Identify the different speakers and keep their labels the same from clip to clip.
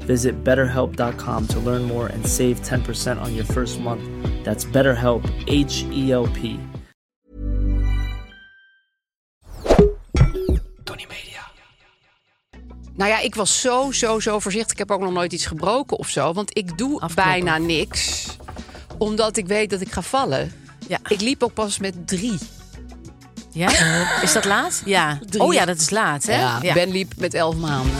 Speaker 1: Visit betterhelp.com to learn more and save 10% on your first month. That's BetterHelp, H E L P.
Speaker 2: Tony Media.
Speaker 3: Nou ja, ik was zo, zo, zo voorzichtig. Ik heb ook nog nooit iets gebroken of zo. Want ik doe bijna niks. Omdat ik weet dat ik ga vallen.
Speaker 4: Ja.
Speaker 3: Ik liep ook pas met drie.
Speaker 4: Ja? Is dat laat? Ja.
Speaker 3: Drie.
Speaker 4: Oh ja, dat is laat, hè?
Speaker 3: Ja, Ben liep met elf maanden.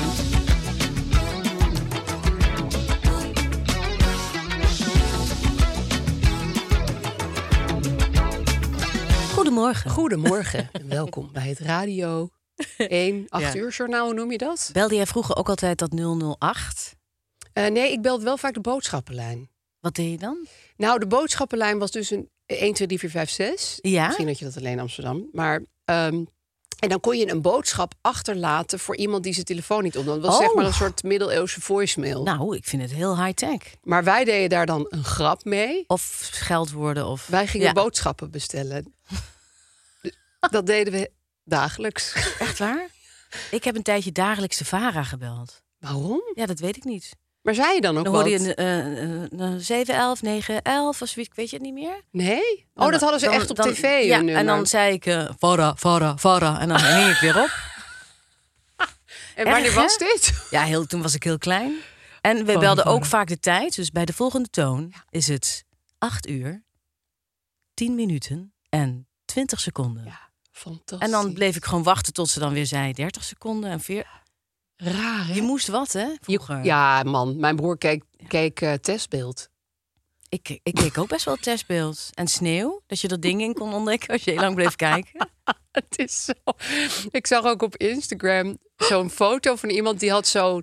Speaker 4: Goedemorgen.
Speaker 3: Goedemorgen en welkom bij het Radio 1 8 uur journaal, hoe noem je dat?
Speaker 4: Belde jij vroeger ook altijd dat 008?
Speaker 3: Eh, nee, ik belde wel vaak de boodschappenlijn.
Speaker 4: Wat deed je dan?
Speaker 3: Nou, de boodschappenlijn was dus een 1, 2, 3, 4, 5, 6.
Speaker 4: Ja.
Speaker 3: Misschien had je dat alleen in Amsterdam. Maar, ehm, en dan kon je een boodschap achterlaten voor iemand die zijn telefoon niet opnam. Dat was
Speaker 4: Oh.
Speaker 3: zeg maar een soort middeleeuwse voicemail.
Speaker 4: Nou, ik vind het heel high-tech.
Speaker 3: Maar wij deden daar dan een grap mee.
Speaker 4: Of scheldwoorden of...
Speaker 3: Wij gingen
Speaker 4: Ja.
Speaker 3: boodschappen bestellen. dat deden we dagelijks.
Speaker 4: Echt waar? Ik heb een tijdje dagelijks de VARA gebeld.
Speaker 3: Waarom?
Speaker 4: Ja, dat weet ik niet.
Speaker 3: Maar zei je dan ook
Speaker 4: Dan hoorde
Speaker 3: wat?
Speaker 4: je een, eh eh 7, 11, 9, 11 of zoiets. Ik Weet je het niet meer?
Speaker 3: Nee? Oh,
Speaker 4: Dan-
Speaker 3: dat hadden ze
Speaker 4: dan-
Speaker 3: echt op
Speaker 4: dan-
Speaker 3: tv.
Speaker 4: Ja,
Speaker 3: hun
Speaker 4: en dan
Speaker 3: nummer.
Speaker 4: zei ik eh VARA, VARA, VARA. En dan hing ik weer op.
Speaker 3: en wanneer
Speaker 4: erg, hè?
Speaker 3: was dit?
Speaker 4: Ja, heel, toen was ik heel klein. En we belden ook vaak de tijd. Dus bij de volgende toon is het 8 uur, 10 minuten en 20 seconden.
Speaker 3: Fantastisch.
Speaker 4: en dan bleef ik gewoon wachten tot ze dan weer zei 30 seconden en 4.
Speaker 3: raar. hè?
Speaker 4: Je moest wat, hè? Vroeger.
Speaker 3: Ja, man. Mijn broer keek, keek eh, testbeeld.
Speaker 4: Ik, ik keek ook best wel testbeeld. En sneeuw, dat je dat ding in kon ontdekken als je heel lang bleef kijken.
Speaker 3: Het is zo. Ik zag ook op Instagram zo'n foto van iemand die had zo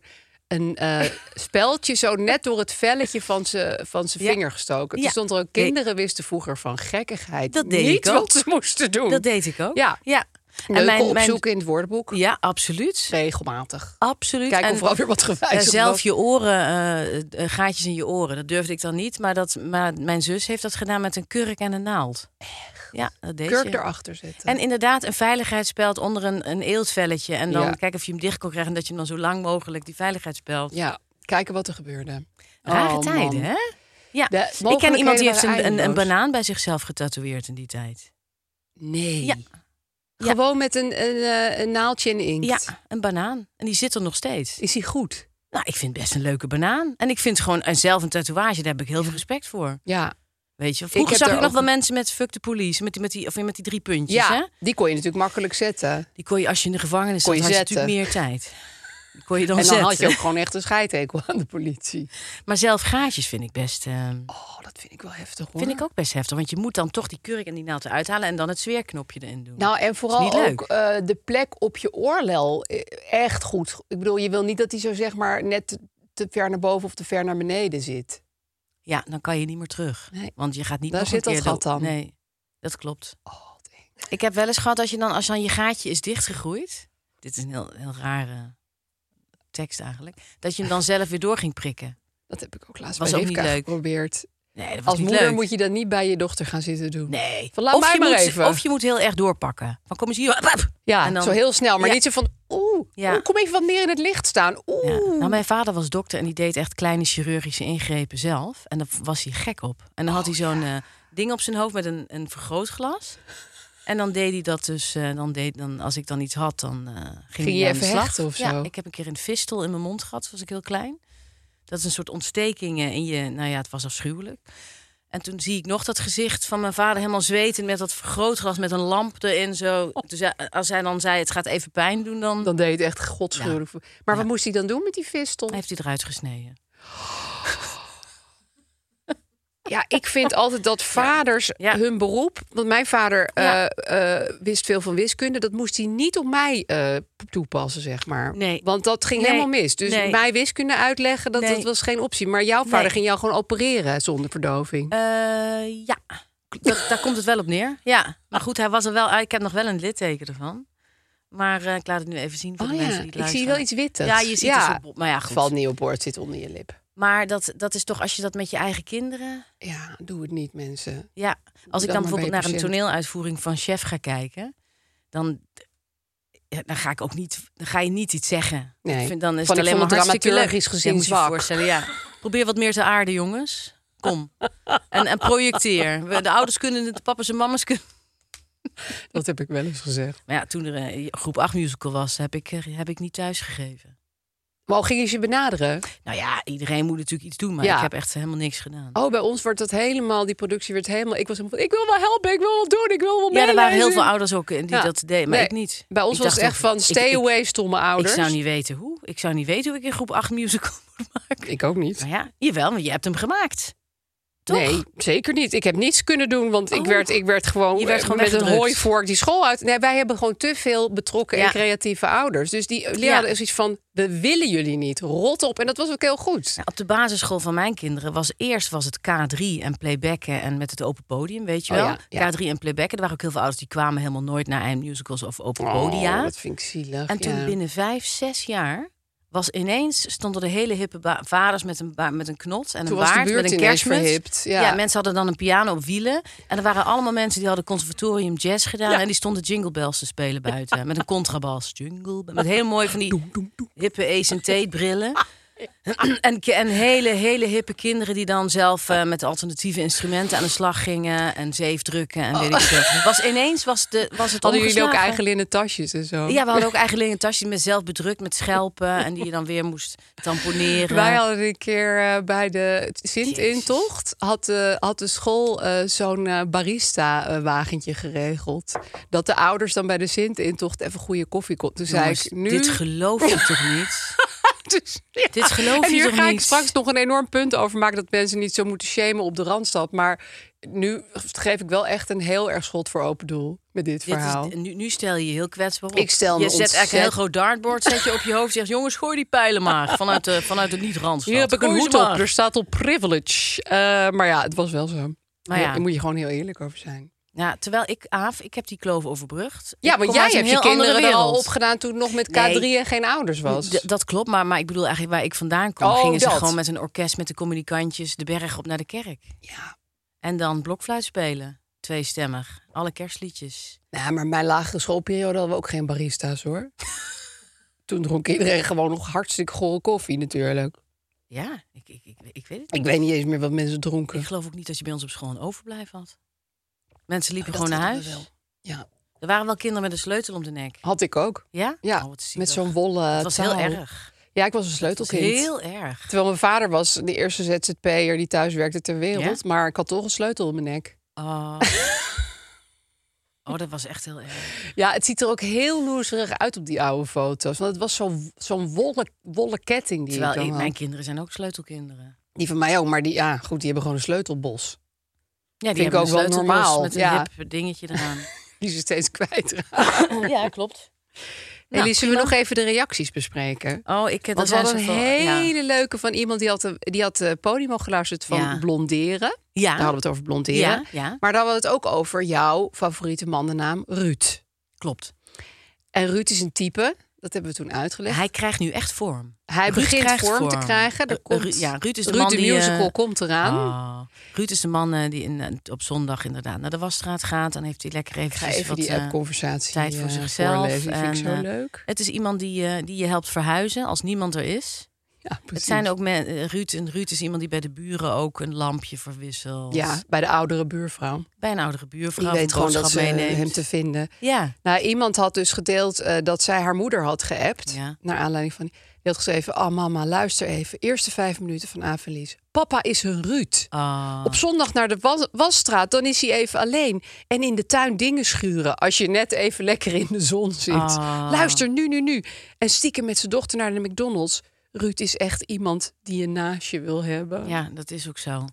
Speaker 3: een eh speldje zo net door het velletje van zijn van zijn
Speaker 4: Ja.
Speaker 3: vinger gestoken. Toen
Speaker 4: Ja.
Speaker 3: stond er ook kinderen wisten vroeger van gekkigheid
Speaker 4: Dat deed
Speaker 3: niet
Speaker 4: ik ook.
Speaker 3: wat ze moesten doen.
Speaker 4: Dat deed ik ook.
Speaker 3: Ja.
Speaker 4: ja.
Speaker 3: Neuken opzoeken in het woordenboek
Speaker 4: Ja, absoluut.
Speaker 3: regelmatig.
Speaker 4: Absoluut.
Speaker 3: Kijken
Speaker 4: En-
Speaker 3: of er ook weer wat
Speaker 4: Eh,
Speaker 3: gewijzigd
Speaker 4: zelf
Speaker 3: was.
Speaker 4: je oren, eh, eh, gaatjes in je oren. Dat durfde ik dan niet. Maar, dat, maar mijn zus heeft dat gedaan met een kurk en een naald. Echt? Ja, dat deed
Speaker 3: kurk
Speaker 4: ze.
Speaker 3: erachter zetten.
Speaker 4: En inderdaad, een veiligheidsspeld onder een, een eeltvelletje. En dan
Speaker 3: Ja.
Speaker 4: kijken of je hem dicht kon krijgen. En dat je hem dan zo lang mogelijk die veiligheidsspeld.
Speaker 3: ja, kijken wat er gebeurde.
Speaker 4: Rare
Speaker 3: Oh,
Speaker 4: tijden,
Speaker 3: man.
Speaker 4: hè? Ja.
Speaker 3: De
Speaker 4: ik ken iemand die
Speaker 3: mogelijkheden
Speaker 4: heeft een,
Speaker 3: waren
Speaker 4: een, een
Speaker 3: eindeloos.
Speaker 4: banaan bij zichzelf getatoeëerd in die tijd.
Speaker 3: Nee.
Speaker 4: Ja. Ja.
Speaker 3: Gewoon met een, een, eh, een naaldje in inkt.
Speaker 4: Ja, een banaan. En die zit er nog steeds.
Speaker 3: Is hij goed?
Speaker 4: Nou, ik vind het best een leuke banaan. En ik vind gewoon en zelf een tatoeage, daar heb ik heel veel respect voor.
Speaker 3: Ja.
Speaker 4: Weet je, vroeger
Speaker 3: heb
Speaker 4: zag
Speaker 3: daar
Speaker 4: ik nog
Speaker 3: ook-
Speaker 4: wel mensen met fuck de police, met die, met die, of met die drie puntjes. Hè?
Speaker 3: Ja, die kon je natuurlijk makkelijk zetten.
Speaker 4: Die kon je als je in de gevangenis
Speaker 3: Kon
Speaker 4: zat,
Speaker 3: je
Speaker 4: had je
Speaker 3: zetten.
Speaker 4: natuurlijk meer tijd. Die kon je dan,
Speaker 3: en dan
Speaker 4: zetten.
Speaker 3: had je ook gewoon echt een scheidhekel aan de politie.
Speaker 4: Maar zelf gaatjes vind ik best, eh,
Speaker 3: Oh, dat vind ik wel heftig hoor.
Speaker 4: vind ik ook best heftig. Want je moet dan toch die kurk en die naald eruit halen en dan het zweerknopje erin doen.
Speaker 3: Nou, en
Speaker 4: niet
Speaker 3: vooral
Speaker 4: leuk.
Speaker 3: ook eh, de plek op je oorlel eh, echt goed. Ik bedoel, je wil niet dat die zo zeg maar net te- te ver naar boven of te ver naar beneden zit.
Speaker 4: ja, dan kan je niet meer terug.
Speaker 3: Nee.
Speaker 4: Want je gaat niet
Speaker 3: Daar
Speaker 4: nog
Speaker 3: zit
Speaker 4: een
Speaker 3: dat
Speaker 4: keer
Speaker 3: gat
Speaker 4: de-
Speaker 3: dan.
Speaker 4: Nee, dat klopt.
Speaker 3: Oh, wat eng.
Speaker 4: Ik heb wel eens gehad als je dan, als dan je gaatje is dichtgegroeid. Dit is een heel, heel rare tekst eigenlijk. Dat je hem dan zelf weer door ging prikken.
Speaker 3: dat heb ik ook laatst
Speaker 4: Was
Speaker 3: bij
Speaker 4: ook niet
Speaker 3: Rivka
Speaker 4: leuk.
Speaker 3: geprobeerd.
Speaker 4: Nee, dat was
Speaker 3: Als
Speaker 4: niet
Speaker 3: moeder
Speaker 4: leuk.
Speaker 3: moet je dat niet bij je dochter gaan zitten doen.
Speaker 4: Nee.
Speaker 3: Van, laat
Speaker 4: of
Speaker 3: mij
Speaker 4: je
Speaker 3: maar
Speaker 4: moet,
Speaker 3: even.
Speaker 4: Of je moet heel erg doorpakken. Van kom eens hier. pap, pap.
Speaker 3: Ja,
Speaker 4: En dan-
Speaker 3: zo heel snel. Maar
Speaker 4: Ja.
Speaker 3: niet zo van, oeh,
Speaker 4: Ja.
Speaker 3: oeh, kom even wat meer in het licht staan. Oeh.
Speaker 4: Ja. Nou, mijn vader was dokter en die deed echt kleine chirurgische ingrepen zelf. En daar was hij gek op. En dan had
Speaker 3: Oh,
Speaker 4: hij zo'n eh, ding op zijn hoofd met een, een vergrootglas. En dan deed hij dat dus. eh, dan deed, dan, als ik dan iets had, dan eh, ging, hij
Speaker 3: je
Speaker 4: aan de
Speaker 3: even
Speaker 4: slag.
Speaker 3: hechten of
Speaker 4: Ja,
Speaker 3: zo?
Speaker 4: ik heb een keer een fistel in mijn mond gehad, was ik heel klein. Dat is een soort ontstekingen in je. Nou ja, het was afschuwelijk. En toen zie ik nog dat gezicht van mijn vader helemaal zweten met dat vergrootglas met een lamp erin zo.
Speaker 3: Oh.
Speaker 4: Dus ja, als hij dan zei het gaat even pijn doen, dan,
Speaker 3: Dan deed het echt godschuwelijk. Maar wat moest hij dan doen met die vistel?
Speaker 4: heeft hij eruit gesneden.
Speaker 3: Ja, ik vind altijd dat vaders
Speaker 4: Ja.
Speaker 3: hun beroep. Want mijn vader
Speaker 4: Ja.
Speaker 3: eh, eh, wist veel van wiskunde. Dat moest hij niet op mij eh, toepassen, zeg maar.
Speaker 4: Nee.
Speaker 3: Want dat ging
Speaker 4: Nee.
Speaker 3: helemaal mis. Dus
Speaker 4: Nee.
Speaker 3: mij wiskunde uitleggen, dat,
Speaker 4: Nee.
Speaker 3: dat was geen optie. Maar jouw vader
Speaker 4: Nee.
Speaker 3: ging jou gewoon opereren zonder verdoving.
Speaker 4: Eh, ja, dat, daar komt het wel op neer. Ja, maar goed, hij was er wel. ah, Ik heb nog wel een litteken ervan. Maar eh, ik laat het nu even zien voor
Speaker 3: oh
Speaker 4: de
Speaker 3: ja,
Speaker 4: mensen die
Speaker 3: ik
Speaker 4: luisteren.
Speaker 3: zie wel iets wittes.
Speaker 4: Ja, je ziet
Speaker 3: ja.
Speaker 4: het op. Maar ja, goed.
Speaker 3: Valt niet op boord, zit onder je lip.
Speaker 4: Maar dat, dat is toch als je dat met je eigen kinderen.
Speaker 3: Ja, doe het niet, mensen.
Speaker 4: Ja, als
Speaker 3: Dan
Speaker 4: ik dan
Speaker 3: maar bij je
Speaker 4: bijvoorbeeld naar een
Speaker 3: patiënt.
Speaker 4: toneeluitvoering van Chef ga kijken, dan, ja, dan ga ik ook niet, dan ga je niet iets zeggen.
Speaker 3: Nee.
Speaker 4: Ik vind, dan is
Speaker 3: Van,
Speaker 4: het
Speaker 3: ik
Speaker 4: alleen
Speaker 3: vond
Speaker 4: maar
Speaker 3: het
Speaker 4: hartstikke leuk.
Speaker 3: dramaturgisch gezien
Speaker 4: ja, moet je
Speaker 3: zwak.
Speaker 4: je voorstellen. Ja. Probeer wat meer te aarden, jongens. Kom. En, en projecteer. We- De ouders kunnen het, de papa's en mama's kunnen.
Speaker 3: Dat heb ik wel eens gezegd.
Speaker 4: Maar ja, toen er eh, groep 8 musical was, heb ik, eh, heb ik niet thuisgegeven.
Speaker 3: Maar al gingen ze je benaderen?
Speaker 4: Nou ja, iedereen moet natuurlijk iets doen, maar
Speaker 3: Ja.
Speaker 4: ik heb echt helemaal niks gedaan.
Speaker 3: Oh, bij ons wordt dat helemaal, die productie werd helemaal... Ik was helemaal van, ik wil wel helpen, ik wil wel doen, ik wil wel
Speaker 4: ja, er waren heel
Speaker 3: meelezen.
Speaker 4: veel ouders ook eh, die
Speaker 3: Ja.
Speaker 4: dat deden, maar
Speaker 3: Nee,
Speaker 4: ik niet.
Speaker 3: Bij ons
Speaker 4: Ik
Speaker 3: was
Speaker 4: dacht
Speaker 3: het echt
Speaker 4: ook,
Speaker 3: van
Speaker 4: ik-
Speaker 3: stay
Speaker 4: ik-
Speaker 3: away, stomme ouders.
Speaker 4: Ik zou niet weten hoe. Ik zou niet weten hoe ik in groep 8 musical moet maken.
Speaker 3: Ik ook niet.
Speaker 4: Maar ja, jawel, want je hebt hem gemaakt. Toch?
Speaker 3: Nee, zeker niet. Ik heb niets kunnen doen, want ik,
Speaker 4: Oh.
Speaker 3: werd, ik werd gewoon,
Speaker 4: Je werd
Speaker 3: eh,
Speaker 4: gewoon
Speaker 3: met een
Speaker 4: weggedrukt.
Speaker 3: hooivork die school uit. Nee, wij hebben gewoon te veel betrokken en
Speaker 4: Ja.
Speaker 3: creatieve ouders. Dus die leraren is iets van, we willen jullie niet, rot op. En dat was ook heel goed.
Speaker 4: Nou, Op de basisschool van mijn kinderen was eerst was het K3 en playbacken en met het open podium, weet je
Speaker 3: Oh
Speaker 4: wel.
Speaker 3: ja, ja.
Speaker 4: K3 en playbacken. Er waren ook heel veel ouders die kwamen helemaal nooit naar eindmusicals of open
Speaker 3: Oh,
Speaker 4: podia.
Speaker 3: dat vind ik zielig.
Speaker 4: En toen
Speaker 3: ja.
Speaker 4: binnen vijf, zes jaar was ineens stonden de hele hippe ba- vaders met een, ba- met een knot en
Speaker 3: Toen
Speaker 4: een
Speaker 3: was de
Speaker 4: baard
Speaker 3: buurt
Speaker 4: met een
Speaker 3: ineens
Speaker 4: kerstmuts.
Speaker 3: verhipt, ja.
Speaker 4: mensen hadden dan een piano op wielen en er waren allemaal mensen die hadden conservatorium jazz gedaan en die stonden jingle bells te spelen buiten met een contrabas jingle bell- met heel mooi van die hippe E ECT brillen. En, ki- en hele, hele hippe kinderen die dan zelf eh, met alternatieve instrumenten aan de slag gingen. En zeefdrukken en weet ik veel. Was ineens was, de, was het
Speaker 3: Oh. Hadden jullie ook
Speaker 4: omgeslagen.
Speaker 3: eigen linnen tasjes en zo?
Speaker 4: Ja, we hadden ook eigenlijk een tasje met zelf bedrukt met schelpen en die je dan weer moest tamponeren.
Speaker 3: Wij hadden een keer eh, bij de Sint-intocht... Had, de- had de school eh, zo'n barista-wagentje geregeld. Dat de ouders dan bij de Sint-intocht even goede koffie konden. Toen zei
Speaker 4: Jongens,
Speaker 3: ik, nu...
Speaker 4: Dit geloof je toch niet?
Speaker 3: Dus, ja.
Speaker 4: Dit geloof
Speaker 3: en
Speaker 4: je
Speaker 3: hier
Speaker 4: toch
Speaker 3: ga ik
Speaker 4: niet?
Speaker 3: straks nog een enorm punt over maken... dat mensen niet zo moeten shamen op de Randstad. Maar nu geef ik wel echt een heel erg schot voor open doel met dit,
Speaker 4: Dit
Speaker 3: verhaal.
Speaker 4: is, nu, nu stel je je heel kwetsbaar op.
Speaker 3: Ik stel me
Speaker 4: je zet echt een heel
Speaker 3: ontzettend-
Speaker 4: groot dartboard zet je op je hoofd en zegt... jongens, gooi die pijlen maar vanuit, de, vanuit het niet-randstad.
Speaker 3: Hier heb ik een
Speaker 4: Gooi
Speaker 3: hoed
Speaker 4: ze
Speaker 3: op, dus-
Speaker 4: maar.
Speaker 3: er staat op privilege. Eh, maar ja, het was wel zo.
Speaker 4: Maar Nou ja.
Speaker 3: Daar moet je gewoon heel eerlijk over zijn.
Speaker 4: Ja, terwijl ik, Aaf, ik heb die kloof overbrugd.
Speaker 3: Ja,
Speaker 4: Ik
Speaker 3: want
Speaker 4: kom
Speaker 3: jij
Speaker 4: uit een
Speaker 3: hebt je
Speaker 4: heel andere
Speaker 3: kinderen er al
Speaker 4: wereld.
Speaker 3: opgedaan toen nog met K3
Speaker 4: Nee.
Speaker 3: en geen ouders was.
Speaker 4: D- dat klopt, maar, maar ik bedoel eigenlijk waar ik vandaan kwam...
Speaker 3: Oh,
Speaker 4: gingen ze
Speaker 3: dat.
Speaker 4: gewoon met een orkest met de communicantjes de berg op naar de kerk.
Speaker 3: ja.
Speaker 4: En dan blokfluit spelen. Tweestemmig. Alle kerstliedjes.
Speaker 3: Nou, maar mijn lagere schoolperiode hadden we ook geen barista's hoor. toen dronk iedereen gewoon nog hartstikke gore koffie natuurlijk.
Speaker 4: Ja, ik, ik, ik, ik weet het niet.
Speaker 3: Ik weet niet eens meer wat mensen
Speaker 4: Ik
Speaker 3: dronken.
Speaker 4: geloof ook niet dat je bij ons op school een overblijf had. Mensen liepen
Speaker 3: Oh, dat
Speaker 4: gewoon naar
Speaker 3: hadden
Speaker 4: huis.
Speaker 3: we
Speaker 4: Er
Speaker 3: Ja,
Speaker 4: waren wel kinderen met een sleutel om de nek.
Speaker 3: had ik ook.
Speaker 4: Ja?
Speaker 3: Ja,
Speaker 4: Oh, wat zielig.
Speaker 3: met zo'n wollen
Speaker 4: Het was heel
Speaker 3: touw.
Speaker 4: erg.
Speaker 3: Ja, ik was een
Speaker 4: Het was
Speaker 3: sleutelkind.
Speaker 4: heel erg.
Speaker 3: Terwijl mijn vader was de eerste ZZP'er die thuis werkte ter wereld.
Speaker 4: Ja?
Speaker 3: Maar ik had toch een sleutel om mijn nek.
Speaker 4: Oh. oh, dat was echt heel erg.
Speaker 3: Ja, het ziet er ook heel loeserig uit op die oude foto's. Want het was zo'n zo'n wollen, wollen ketting die ik
Speaker 4: Terwijl
Speaker 3: dan
Speaker 4: ik-
Speaker 3: had.
Speaker 4: mijn kinderen zijn ook sleutelkinderen.
Speaker 3: Die van mij ook, maar die, ja, goed, die hebben gewoon een sleutelbos.
Speaker 4: Ja,
Speaker 3: Vind
Speaker 4: die
Speaker 3: ik
Speaker 4: hebben
Speaker 3: ook
Speaker 4: een
Speaker 3: wel
Speaker 4: sleutelbos
Speaker 3: normaal,
Speaker 4: Met een
Speaker 3: ja.
Speaker 4: hip dingetje eraan.
Speaker 3: Die ze steeds kwijt.
Speaker 4: ja, klopt.
Speaker 3: Oh, Nou,
Speaker 4: Nou,
Speaker 3: Elise, zullen we nog even de reacties bespreken?
Speaker 4: Oh, ik heb
Speaker 3: Want we hadden een hele leuke van iemand die had, eh, die had eh, Podimo geluisterd van
Speaker 4: Ja.
Speaker 3: blonderen.
Speaker 4: Ja.
Speaker 3: Daar hadden we het over blonderen.
Speaker 4: Ja, ja.
Speaker 3: Maar daar hadden we het ook over jouw favoriete mannennaam, Ruud.
Speaker 4: klopt.
Speaker 3: En Ruud is een type, dat hebben we toen uitgelegd.
Speaker 4: Hij krijgt nu echt vorm.
Speaker 3: Hij
Speaker 4: Ruud
Speaker 3: begint
Speaker 4: krijgt
Speaker 3: vorm te
Speaker 4: vorm.
Speaker 3: krijgen. Er
Speaker 4: Eh,
Speaker 3: komt,
Speaker 4: Ru- ja, Ruud is de
Speaker 3: Ruud
Speaker 4: man
Speaker 3: de
Speaker 4: die, eh,
Speaker 3: musical komt eraan.
Speaker 4: Oh. Ruud is de man eh, die in, eh, op zondag inderdaad naar de wasstraat gaat. Dan heeft hij lekker
Speaker 3: Ik ga
Speaker 4: eventjes
Speaker 3: even
Speaker 4: wat...
Speaker 3: die
Speaker 4: eh,
Speaker 3: app-conversatie
Speaker 4: tijd voor
Speaker 3: eh,
Speaker 4: zichzelf
Speaker 3: voorlezen. Die vind ik
Speaker 4: en,
Speaker 3: zo
Speaker 4: eh,
Speaker 3: leuk.
Speaker 4: het is iemand die, eh, die je helpt verhuizen als niemand er is.
Speaker 3: Ja,
Speaker 4: Het
Speaker 3: precies.
Speaker 4: zijn ook men, eh, Ruud. En Ruud is iemand die bij de buren ook een lampje verwisselt.
Speaker 3: Ja, bij de oudere buurvrouw.
Speaker 4: Bij een oudere buurvrouw.
Speaker 3: Die
Speaker 4: of
Speaker 3: weet
Speaker 4: een
Speaker 3: gewoon dat ze
Speaker 4: boodschap meeneemt.
Speaker 3: hem te vinden.
Speaker 4: Ja.
Speaker 3: Nou, iemand had dus gedeeld eh, dat zij haar moeder had geappt.
Speaker 4: Ja.
Speaker 3: Naar aanleiding van... Die had geschreven, oh mama, luister even. Eerste vijf minuten van Avelies. Papa is een Ruud.
Speaker 4: Ah.
Speaker 3: Op zondag naar de was- wasstraat, dan is hij even alleen. En in de tuin dingen schuren. Als je net even lekker in de zon zit.
Speaker 4: Ah.
Speaker 3: Luister, nu, nu, nu. En stiekem met zijn dochter naar de McDonald's. Ruud is echt iemand die een naastje wil hebben.
Speaker 4: Ja, dat is ook zo.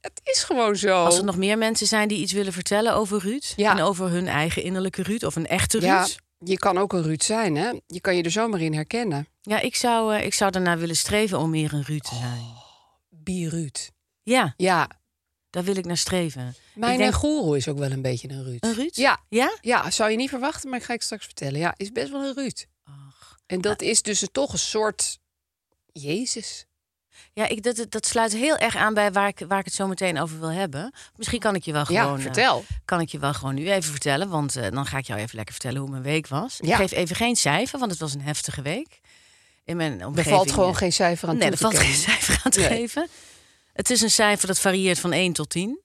Speaker 3: Het is gewoon zo.
Speaker 4: Als er nog meer mensen zijn die iets willen vertellen over Ruud.
Speaker 3: Oh. Ja.
Speaker 4: En over hun eigen innerlijke Ruud. Of een echte Ruud.
Speaker 3: Ja, je kan ook een Ruud zijn, hè? Je kan je er zomaar in herkennen.
Speaker 4: Ja, ik zou, eh, ik zou daarna willen streven om meer een Ruud te zijn.
Speaker 3: Bi Ruud.
Speaker 4: Ja,
Speaker 3: Ja,
Speaker 4: daar wil ik naar streven.
Speaker 3: mijn
Speaker 4: ik denk,
Speaker 3: goeroe is ook wel een beetje een Ruud.
Speaker 4: een Ruud?
Speaker 3: Ja.
Speaker 4: Ja?
Speaker 3: Ja, zou je niet verwachten, maar ik ga ik straks vertellen. Ja, is best wel een Ruud.
Speaker 4: Ach.
Speaker 3: En dat is dus een- toch een soort Jezus.
Speaker 4: Ja, ik, dat, dat sluit heel erg aan bij waar ik, waar ik het zo meteen over wil hebben. Misschien kan ik je wel gewoon...
Speaker 3: ja,
Speaker 4: eh,
Speaker 3: vertel.
Speaker 4: kan ik je wel gewoon nu even vertellen. Want eh, dan ga ik jou even lekker vertellen hoe mijn week was.
Speaker 3: Ja.
Speaker 4: Ik geef even geen cijfer, want het was een heftige week. In mijn omgeving. eh,
Speaker 3: Er valt gewoon geen cijfer aan toe
Speaker 4: Nee, er
Speaker 3: te
Speaker 4: valt geen
Speaker 3: kennen.
Speaker 4: cijfer aan te
Speaker 3: Nee.
Speaker 4: geven. Het is een cijfer dat varieert van 1 tot 10.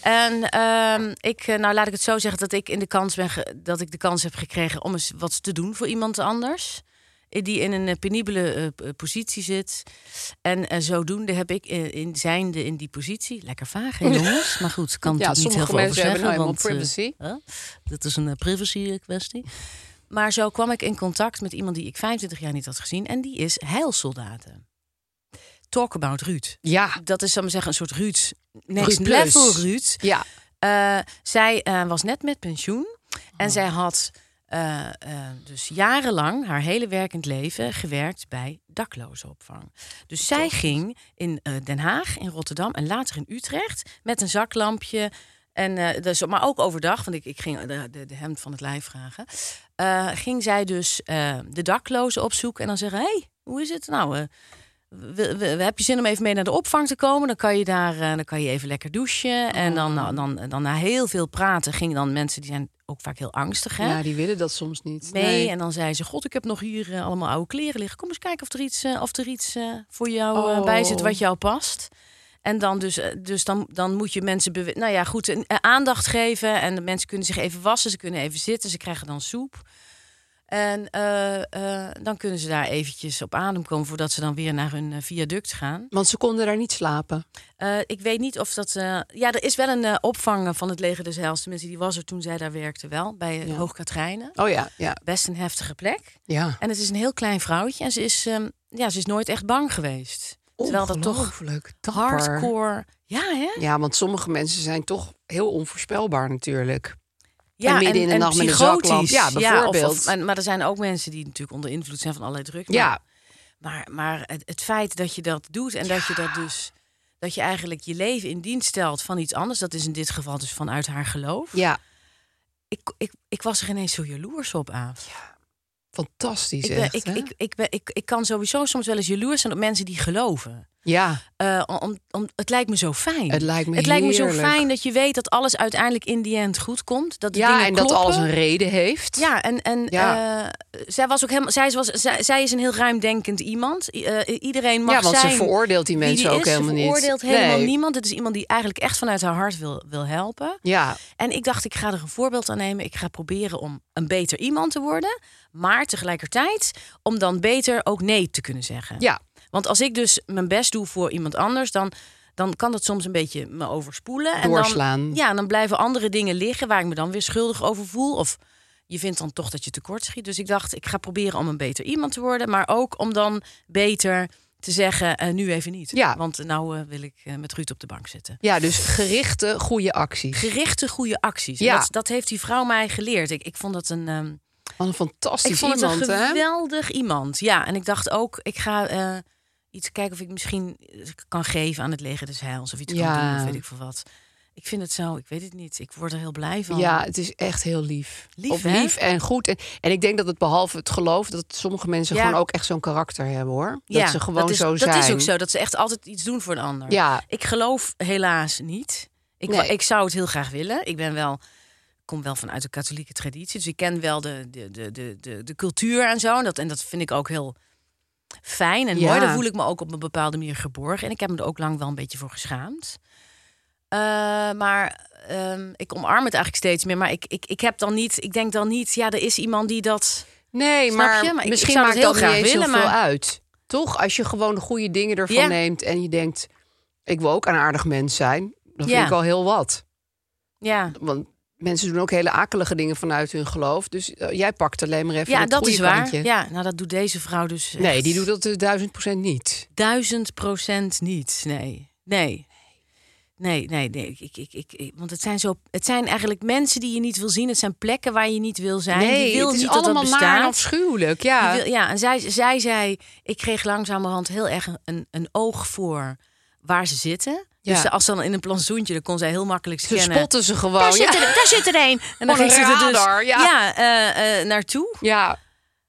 Speaker 4: En ehm, ik, eh, nou laat ik het zo zeggen, dat ik, in de kans ben ge- dat ik de kans heb gekregen om eens wat te doen voor iemand anders. eh, Die in een eh, penibele eh, p- eh, positie zit. En eh, zodoende heb ik eh, in zijnde in die positie. Lekker vaag, hè, jongens? Maar goed, kan
Speaker 3: Ja,
Speaker 4: natuurlijk niet
Speaker 3: sommige
Speaker 4: heel veel over
Speaker 3: mensen hebben
Speaker 4: zeggen.
Speaker 3: nou helemaal
Speaker 4: want, eh,
Speaker 3: privacy.
Speaker 4: Hè? Dat is een eh, privacy-kwestie. Maar zo kwam ik in contact met iemand die ik 25 jaar niet had gezien. En die is heilsoldaten. Talk about Ruud.
Speaker 3: Ja,
Speaker 4: Dat is, zal ik maar zeggen, een soort Ruud. Next
Speaker 3: Ruud Plus.
Speaker 4: level Ruud.
Speaker 3: ja.
Speaker 4: Eh, zij eh, was net met pensioen. En
Speaker 3: Oh.
Speaker 4: zij had eh, eh, dus jarenlang haar hele werkend leven gewerkt bij daklozenopvang. Dus zij ging in eh, Den Haag, in Rotterdam en later in Utrecht met een zaklampje. En, eh, dus, maar ook overdag, want ik, ik ging de, de, de hemd van het lijf vragen. eh, ging zij dus eh, de daklozen opzoeken en dan zeggen: hey, hoe is het? Nou, eh, we- we- we- heb je zin om even mee naar de opvang te komen? Dan kan je daar eh, dan kan je even lekker douchen. En dan, dan, dan, na heel veel praten gingen dan mensen die zijn ook vaak heel angstig. Hè?
Speaker 3: ja, die willen dat soms niet.
Speaker 4: mee. En dan zei ze: God, ik heb nog hier eh, allemaal oude kleren liggen. Kom eens kijken of er iets, eh, of er iets eh, voor jou eh,
Speaker 3: Oh.
Speaker 4: bij zit wat jou past. En dan, dus, eh, dus dan, dan moet je mensen bewe- nou ja, goed, een- eh, aandacht geven. En de mensen kunnen zich even wassen, ze kunnen even zitten, ze krijgen dan soep. En eh, eh, dan kunnen ze daar eventjes op adem komen voordat ze dan weer naar hun eh, viaduct gaan.
Speaker 3: Want ze konden daar niet slapen.
Speaker 4: Eh, ik weet niet of dat. eh, ja, er is wel een eh, opvang eh, van het leger des Heils. Tenminste, die was er toen zij daar werkte wel. Bij eh,
Speaker 3: Ja.
Speaker 4: Hoogkaterijnen.
Speaker 3: Oh ja, ja,
Speaker 4: Best een heftige plek.
Speaker 3: ja.
Speaker 4: En het is een heel klein vrouwtje. En ze is, ehm, ja, ze is nooit echt bang geweest. Terwijl dat toch
Speaker 3: Ongelooflijk dapper.
Speaker 4: hardcore. Ja, hè?
Speaker 3: Ja, want sommige mensen zijn toch heel onvoorspelbaar natuurlijk.
Speaker 4: Ja,
Speaker 3: midden in de nacht met een
Speaker 4: psychotisch.
Speaker 3: zaklamp. Ja,
Speaker 4: of-
Speaker 3: bijvoorbeeld.
Speaker 4: of, en- maar er zijn ook mensen die natuurlijk onder invloed zijn van allerlei druk.
Speaker 3: Ja,
Speaker 4: Maar, maar, maar het, het feit dat je dat doet en dat je dat dus. Dat je eigenlijk je leven in dienst stelt van iets anders. Dat is in dit geval dus vanuit haar geloof.
Speaker 3: ja.
Speaker 4: ik, ik, ik was er ineens zo jaloers op aan.
Speaker 3: Fantastisch
Speaker 4: Ik, ben,
Speaker 3: echt,
Speaker 4: ik,
Speaker 3: hè?
Speaker 4: ik, ik, ben, ik, ik kan sowieso soms wel eens jaloers zijn op mensen die geloven.
Speaker 3: ja,
Speaker 4: Eh, om, om, het lijkt me zo fijn.
Speaker 3: het lijkt me
Speaker 4: Het lijkt me zo
Speaker 3: heerlijk.
Speaker 4: fijn dat je weet dat alles uiteindelijk in die end goed komt. Dat de
Speaker 3: Ja,
Speaker 4: dingen
Speaker 3: en dat
Speaker 4: kloppen.
Speaker 3: alles een reden heeft.
Speaker 4: Ja, en, en
Speaker 3: Ja.
Speaker 4: eh, zij, was ook helemaal, zij, was, zij, zij is een heel ruimdenkend iemand. I- eh, iedereen mag
Speaker 3: ja want
Speaker 4: zijn
Speaker 3: ze veroordeelt die
Speaker 4: wie
Speaker 3: mensen
Speaker 4: die
Speaker 3: ook
Speaker 4: is.
Speaker 3: helemaal
Speaker 4: ze
Speaker 3: niet.
Speaker 4: veroordeelt helemaal
Speaker 3: Nee.
Speaker 4: niemand. Het is iemand die eigenlijk echt vanuit haar hart wil, wil helpen.
Speaker 3: Ja,
Speaker 4: En ik dacht, ik ga er een voorbeeld aan nemen. Ik ga proberen om een beter iemand te worden. Maar tegelijkertijd om dan beter ook nee te kunnen zeggen.
Speaker 3: ja,
Speaker 4: Want als ik dus mijn best doe voor iemand anders, dan, dan kan dat soms een beetje me overspoelen. En
Speaker 3: Doorslaan.
Speaker 4: Dan, ja, en dan blijven andere dingen liggen waar ik me dan weer schuldig over voel. Of je vindt dan toch dat je tekort schiet. Dus ik dacht, ik ga proberen om een beter iemand te worden. Maar ook om dan beter te zeggen, eh, nu even niet.
Speaker 3: Ja.
Speaker 4: Want eh, nou eh, wil ik eh, met Ruud op de bank zitten
Speaker 3: ja, dus gerichte goede acties.
Speaker 4: gerichte goede acties.
Speaker 3: Ja.
Speaker 4: Ja. Dat, dat heeft die vrouw mij geleerd. Ik, ik vond dat een, ehm,
Speaker 3: Wat een
Speaker 4: ik
Speaker 3: fantastisch
Speaker 4: vond het
Speaker 3: iemand,
Speaker 4: een
Speaker 3: hè?
Speaker 4: geweldig iemand. Ja, en ik dacht ook, ik ga eh, iets kijken of ik misschien eh, kan geven aan het leger des heils. Of iets kan
Speaker 3: Ja.
Speaker 4: doen, of weet ik veel wat. Ik vind het zo, ik weet het niet. Ik word er heel blij van.
Speaker 3: Ja, het is echt heel lief.
Speaker 4: Lief,
Speaker 3: Of
Speaker 4: hè?
Speaker 3: lief en goed. En, en ik denk dat het behalve het geloof, dat sommige mensen
Speaker 4: Ja.
Speaker 3: gewoon ook echt zo'n karakter hebben hoor. Dat
Speaker 4: Ja,
Speaker 3: ze gewoon
Speaker 4: is,
Speaker 3: zo zijn.
Speaker 4: Dat is ook zo, dat ze echt altijd iets doen voor een ander.
Speaker 3: Ja,
Speaker 4: Ik geloof helaas niet. Ik,
Speaker 3: Nee.
Speaker 4: ik zou het heel graag willen. Ik ben wel, kom wel vanuit de katholieke traditie. Dus ik ken wel de, de, de, de, de, de cultuur en zo. En dat, en dat vind ik ook heel fijn en
Speaker 3: Ja.
Speaker 4: mooi. Dan voel ik me ook op een bepaalde manier geborgen. En ik heb me er ook lang wel een beetje voor geschaamd. Eh, maar ehm, ik omarm het eigenlijk steeds meer. Maar ik, ik, ik heb dan niet, ik denk dan niet, ja, er is iemand die dat.
Speaker 3: Nee,
Speaker 4: Snap
Speaker 3: maar,
Speaker 4: je? Maar ik-
Speaker 3: misschien
Speaker 4: ik zou
Speaker 3: maakt
Speaker 4: dat heel
Speaker 3: dat
Speaker 4: graag
Speaker 3: niet eens
Speaker 4: willen,
Speaker 3: zoveel
Speaker 4: maar-
Speaker 3: uit. Toch? Als je gewoon de goede dingen ervan
Speaker 4: Ja.
Speaker 3: neemt en je denkt... ik wil ook een aardig mens zijn. Dan
Speaker 4: Ja.
Speaker 3: vind ik al heel wat.
Speaker 4: Ja,
Speaker 3: Want mensen doen ook hele akelige dingen vanuit hun geloof. Dus eh, jij pakt alleen maar even
Speaker 4: ja
Speaker 3: het
Speaker 4: dat
Speaker 3: goede
Speaker 4: is waar.
Speaker 3: kantje.
Speaker 4: Ja, nou, dat doet deze vrouw dus.
Speaker 3: Nee,
Speaker 4: echt
Speaker 3: die doet dat eh, duizend procent niet.
Speaker 4: Duizend procent niet. Nee, nee. Nee, nee, nee. Ik, ik, ik, ik- ik- want het zijn, zo, het zijn eigenlijk mensen die je niet wil zien. Het zijn plekken waar je niet wil zijn.
Speaker 3: nee,
Speaker 4: je wil
Speaker 3: het is
Speaker 4: niet dat
Speaker 3: allemaal
Speaker 4: dat
Speaker 3: naar en
Speaker 4: bestaat.
Speaker 3: afschuwelijk.
Speaker 4: Ja,
Speaker 3: Ja.
Speaker 4: wil, ja en zij, zij zei, ik kreeg langzamerhand heel erg een, een oog voor waar ze zitten.
Speaker 3: Ja.
Speaker 4: Dus ze- als ze dan in een plantsoentje, dan kon zij heel makkelijk
Speaker 3: Ze
Speaker 4: scannen.
Speaker 3: spotten ze gewoon.
Speaker 4: daar, zit
Speaker 3: ja.
Speaker 4: er, daar zit er een. En dan
Speaker 3: Gewoon
Speaker 4: ging
Speaker 3: een
Speaker 4: ze er dus
Speaker 3: radar, ja.
Speaker 4: eh, eh, naartoe.
Speaker 3: ja,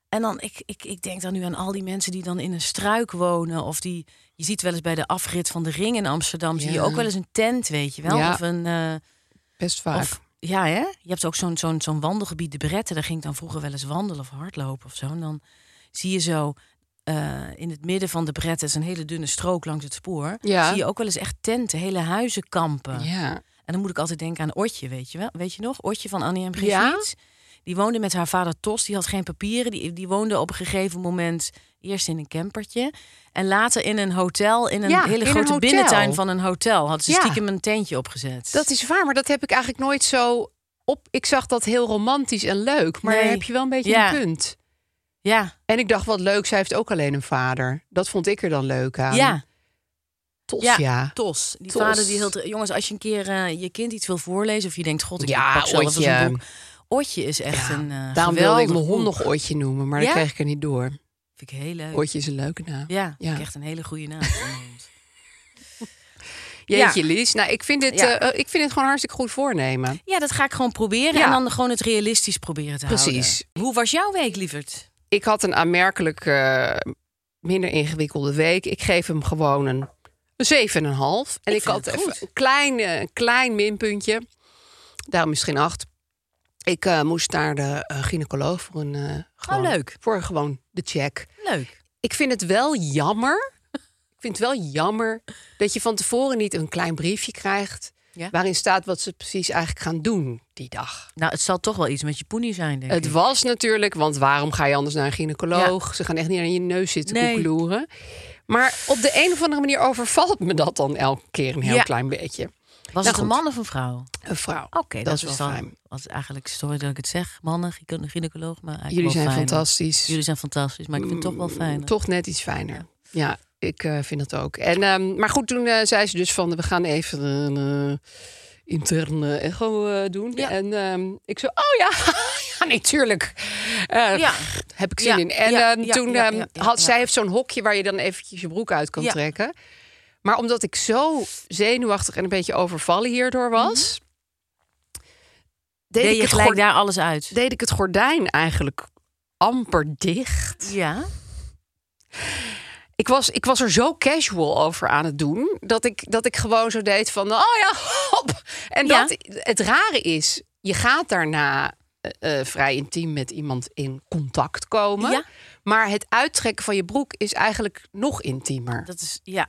Speaker 4: En dan, ik, ik, ik denk dan nu aan al die mensen die dan in een struik wonen. Of die, je ziet wel eens bij de afrit van de ring in Amsterdam, zie je
Speaker 3: Ja.
Speaker 4: ook wel eens een tent, weet je wel.
Speaker 3: Ja.
Speaker 4: Of een... eh,
Speaker 3: best vaak.
Speaker 4: of, ja, hè? Je hebt ook zo'n zo'n zo'n wandelgebied, de Bretten. Daar ging ik dan vroeger wel eens wandelen of hardlopen of zo. En dan zie je zo eh, in het midden van de Bretten, is een hele dunne strook langs het spoor.
Speaker 3: Ja.
Speaker 4: Zie je ook wel eens echt tenten, hele huizen kampen.
Speaker 3: ja.
Speaker 4: En dan moet ik altijd denken aan Otje, weet je wel? Weet je nog? Otje van Annie en
Speaker 3: Ja.
Speaker 4: Brigitte. Die woonde met haar vader Tos. Die had geen papieren. Die, die woonde op een gegeven moment eerst in een campertje. En later in een hotel. In een
Speaker 3: Ja, in
Speaker 4: hele
Speaker 3: een
Speaker 4: grote
Speaker 3: hotel.
Speaker 4: binnentuin van een hotel. Had ze
Speaker 3: Ja.
Speaker 4: stiekem een tentje opgezet.
Speaker 3: Dat is waar, maar dat heb ik eigenlijk nooit zo op. Ik zag dat heel romantisch en leuk, maar daar
Speaker 4: Nee.
Speaker 3: heb je wel een beetje
Speaker 4: Ja.
Speaker 3: een punt.
Speaker 4: Ja,
Speaker 3: En ik dacht, wat leuk, zij heeft ook alleen een vader. Dat vond ik er dan leuk aan.
Speaker 4: ja.
Speaker 3: Tof, ja.
Speaker 4: Ja. Tos. Die
Speaker 3: Tos.
Speaker 4: vader die heel... te- Jongens, als je een keer eh, je kind iets wil voorlezen... of je denkt, god, ik
Speaker 3: Ja,
Speaker 4: pak zelf eens
Speaker 3: Otje.
Speaker 4: een boek. Otje is echt een
Speaker 3: Daarom
Speaker 4: eh
Speaker 3: wilde ik
Speaker 4: geweldig
Speaker 3: mijn hond
Speaker 4: boek.
Speaker 3: nog Otje noemen, maar
Speaker 4: Ja?
Speaker 3: dat kreeg ik er niet door.
Speaker 4: Vind ik heel leuk.
Speaker 3: Otje is een leuke naam.
Speaker 4: Ja,
Speaker 3: Ja.
Speaker 4: ja. echt een hele goede naam voor een hond.
Speaker 3: Jeetje, Lies. Nou, ik vind, dit,
Speaker 4: Ja.
Speaker 3: eh, ik vind dit gewoon hartstikke goed voornemen.
Speaker 4: Ja, dat ga ik gewoon proberen.
Speaker 3: Ja.
Speaker 4: En dan gewoon het realistisch proberen te houden.
Speaker 3: Precies.
Speaker 4: Hoe was jouw week, lieverd?
Speaker 3: Ik had een aanmerkelijk eh, minder ingewikkelde week. Ik geef hem gewoon een 7,5. En ik,
Speaker 4: vind
Speaker 3: had
Speaker 4: het
Speaker 3: even
Speaker 4: goed.
Speaker 3: een klein, eh, een klein minpuntje. Daarom misschien 8. Ik eh, moest naar de eh, gynaecoloog voor een, eh, gewoon,
Speaker 4: Oh, leuk.
Speaker 3: voor gewoon de check.
Speaker 4: Leuk.
Speaker 3: Ik vind het wel jammer. Ik vind het wel jammer dat je van tevoren niet een klein briefje krijgt.
Speaker 4: Ja.
Speaker 3: waarin staat wat ze precies eigenlijk gaan doen die dag.
Speaker 4: Nou, het zal toch wel iets met je poenie zijn, denk
Speaker 3: Het
Speaker 4: ik.
Speaker 3: was natuurlijk, want waarom ga je anders naar een gynaecoloog? Ze gaan echt niet aan je neus zitten
Speaker 4: Nee.
Speaker 3: koekeloeren. Maar op de een of andere manier overvalt me dat dan elke keer een heel
Speaker 4: Ja. Oh,
Speaker 3: klein beetje.
Speaker 4: Was
Speaker 3: Nou
Speaker 4: het een
Speaker 3: goed.
Speaker 4: man of een vrouw? Oké,
Speaker 3: Een vrouw. dat, is wel
Speaker 4: dan-
Speaker 3: fijn.
Speaker 4: Als eigenlijk, sorry dat ik het zeg, mannen, gyne- gynaecoloog, maar eigenlijk
Speaker 3: Jullie
Speaker 4: wel
Speaker 3: zijn
Speaker 4: fijner.
Speaker 3: fantastisch.
Speaker 4: Jullie zijn fantastisch, maar ik vind het Mm, toch wel fijn.
Speaker 3: Toch net iets fijner. Ja, ik eh, vind dat ook. En, ehm, maar goed, toen eh, zei ze dus van, we gaan even een eh, interne echo eh, doen.
Speaker 4: Ja.
Speaker 3: En ehm, ik zo, oh ja, ja nee, tuurlijk. Eh,
Speaker 4: Ja.
Speaker 3: Heb ik zin
Speaker 4: Ja,
Speaker 3: in. En
Speaker 4: ja,
Speaker 3: ehm,
Speaker 4: ja,
Speaker 3: toen
Speaker 4: ja,
Speaker 3: ehm,
Speaker 4: ja, ja,
Speaker 3: had
Speaker 4: ja.
Speaker 3: zij heeft zo'n hokje waar je dan eventjes je broek uit kan
Speaker 4: Ja.
Speaker 3: trekken. Maar omdat ik zo zenuwachtig en een beetje overvallen hierdoor was, deed,
Speaker 4: Mhm. Deed
Speaker 3: ik
Speaker 4: je
Speaker 3: het
Speaker 4: gelijk
Speaker 3: gord-
Speaker 4: daar alles uit?
Speaker 3: deed ik het gordijn eigenlijk amper dicht.
Speaker 4: Ja.
Speaker 3: Ik was, ik was er zo casual over aan het doen. Dat ik, dat ik gewoon zo deed van. Oh ja, hop. En
Speaker 4: Ja.
Speaker 3: dat, het rare is. Je gaat daarna eh, eh, vrij intiem met iemand in contact komen.
Speaker 4: Ja.
Speaker 3: Maar het uittrekken van je broek is eigenlijk nog intiemer.
Speaker 4: Dat is, ja.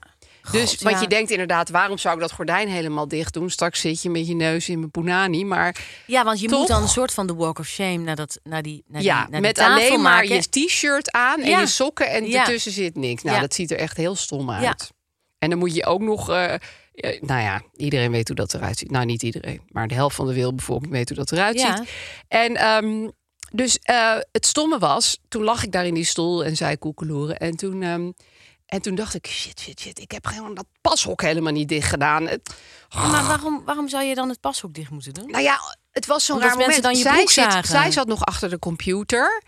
Speaker 3: dus
Speaker 4: God,
Speaker 3: want
Speaker 4: ja.
Speaker 3: je denkt inderdaad, waarom zou ik dat gordijn helemaal dicht doen? Straks zit je met je neus in mijn punani. Maar
Speaker 4: Ja, want je
Speaker 3: Toch?
Speaker 4: moet dan een soort van de walk of shame naar, dat, naar die, naar
Speaker 3: ja,
Speaker 4: die, naar die
Speaker 3: met
Speaker 4: tafel
Speaker 3: alleen maar
Speaker 4: maken.
Speaker 3: je t-shirt aan en
Speaker 4: Ja.
Speaker 3: je sokken en
Speaker 4: Ja.
Speaker 3: ertussen zit niks. Nou,
Speaker 4: Ja.
Speaker 3: dat ziet er echt heel stom uit.
Speaker 4: Ja.
Speaker 3: En dan moet je ook nog, eh, eh, nou ja, iedereen weet hoe dat eruit ziet. Nou, niet iedereen, maar de helft van de wereldbevolking weet hoe dat eruit
Speaker 4: Ja.
Speaker 3: ziet. En ehm, dus eh, het stomme was, toen lag ik daar in die stoel en zei koekeloeren. En toen, ehm, en toen dacht ik, shit, shit, shit, ik heb gewoon dat pashok helemaal niet dicht gedaan. Het,
Speaker 4: Maar waarom, waarom zou je dan het pashoek dicht moeten doen?
Speaker 3: nou ja, het was zo'n
Speaker 4: Omdat
Speaker 3: raar moment.
Speaker 4: mensen dan je
Speaker 3: zij,
Speaker 4: broek
Speaker 3: zit,
Speaker 4: zagen.
Speaker 3: zij zat nog achter de computer.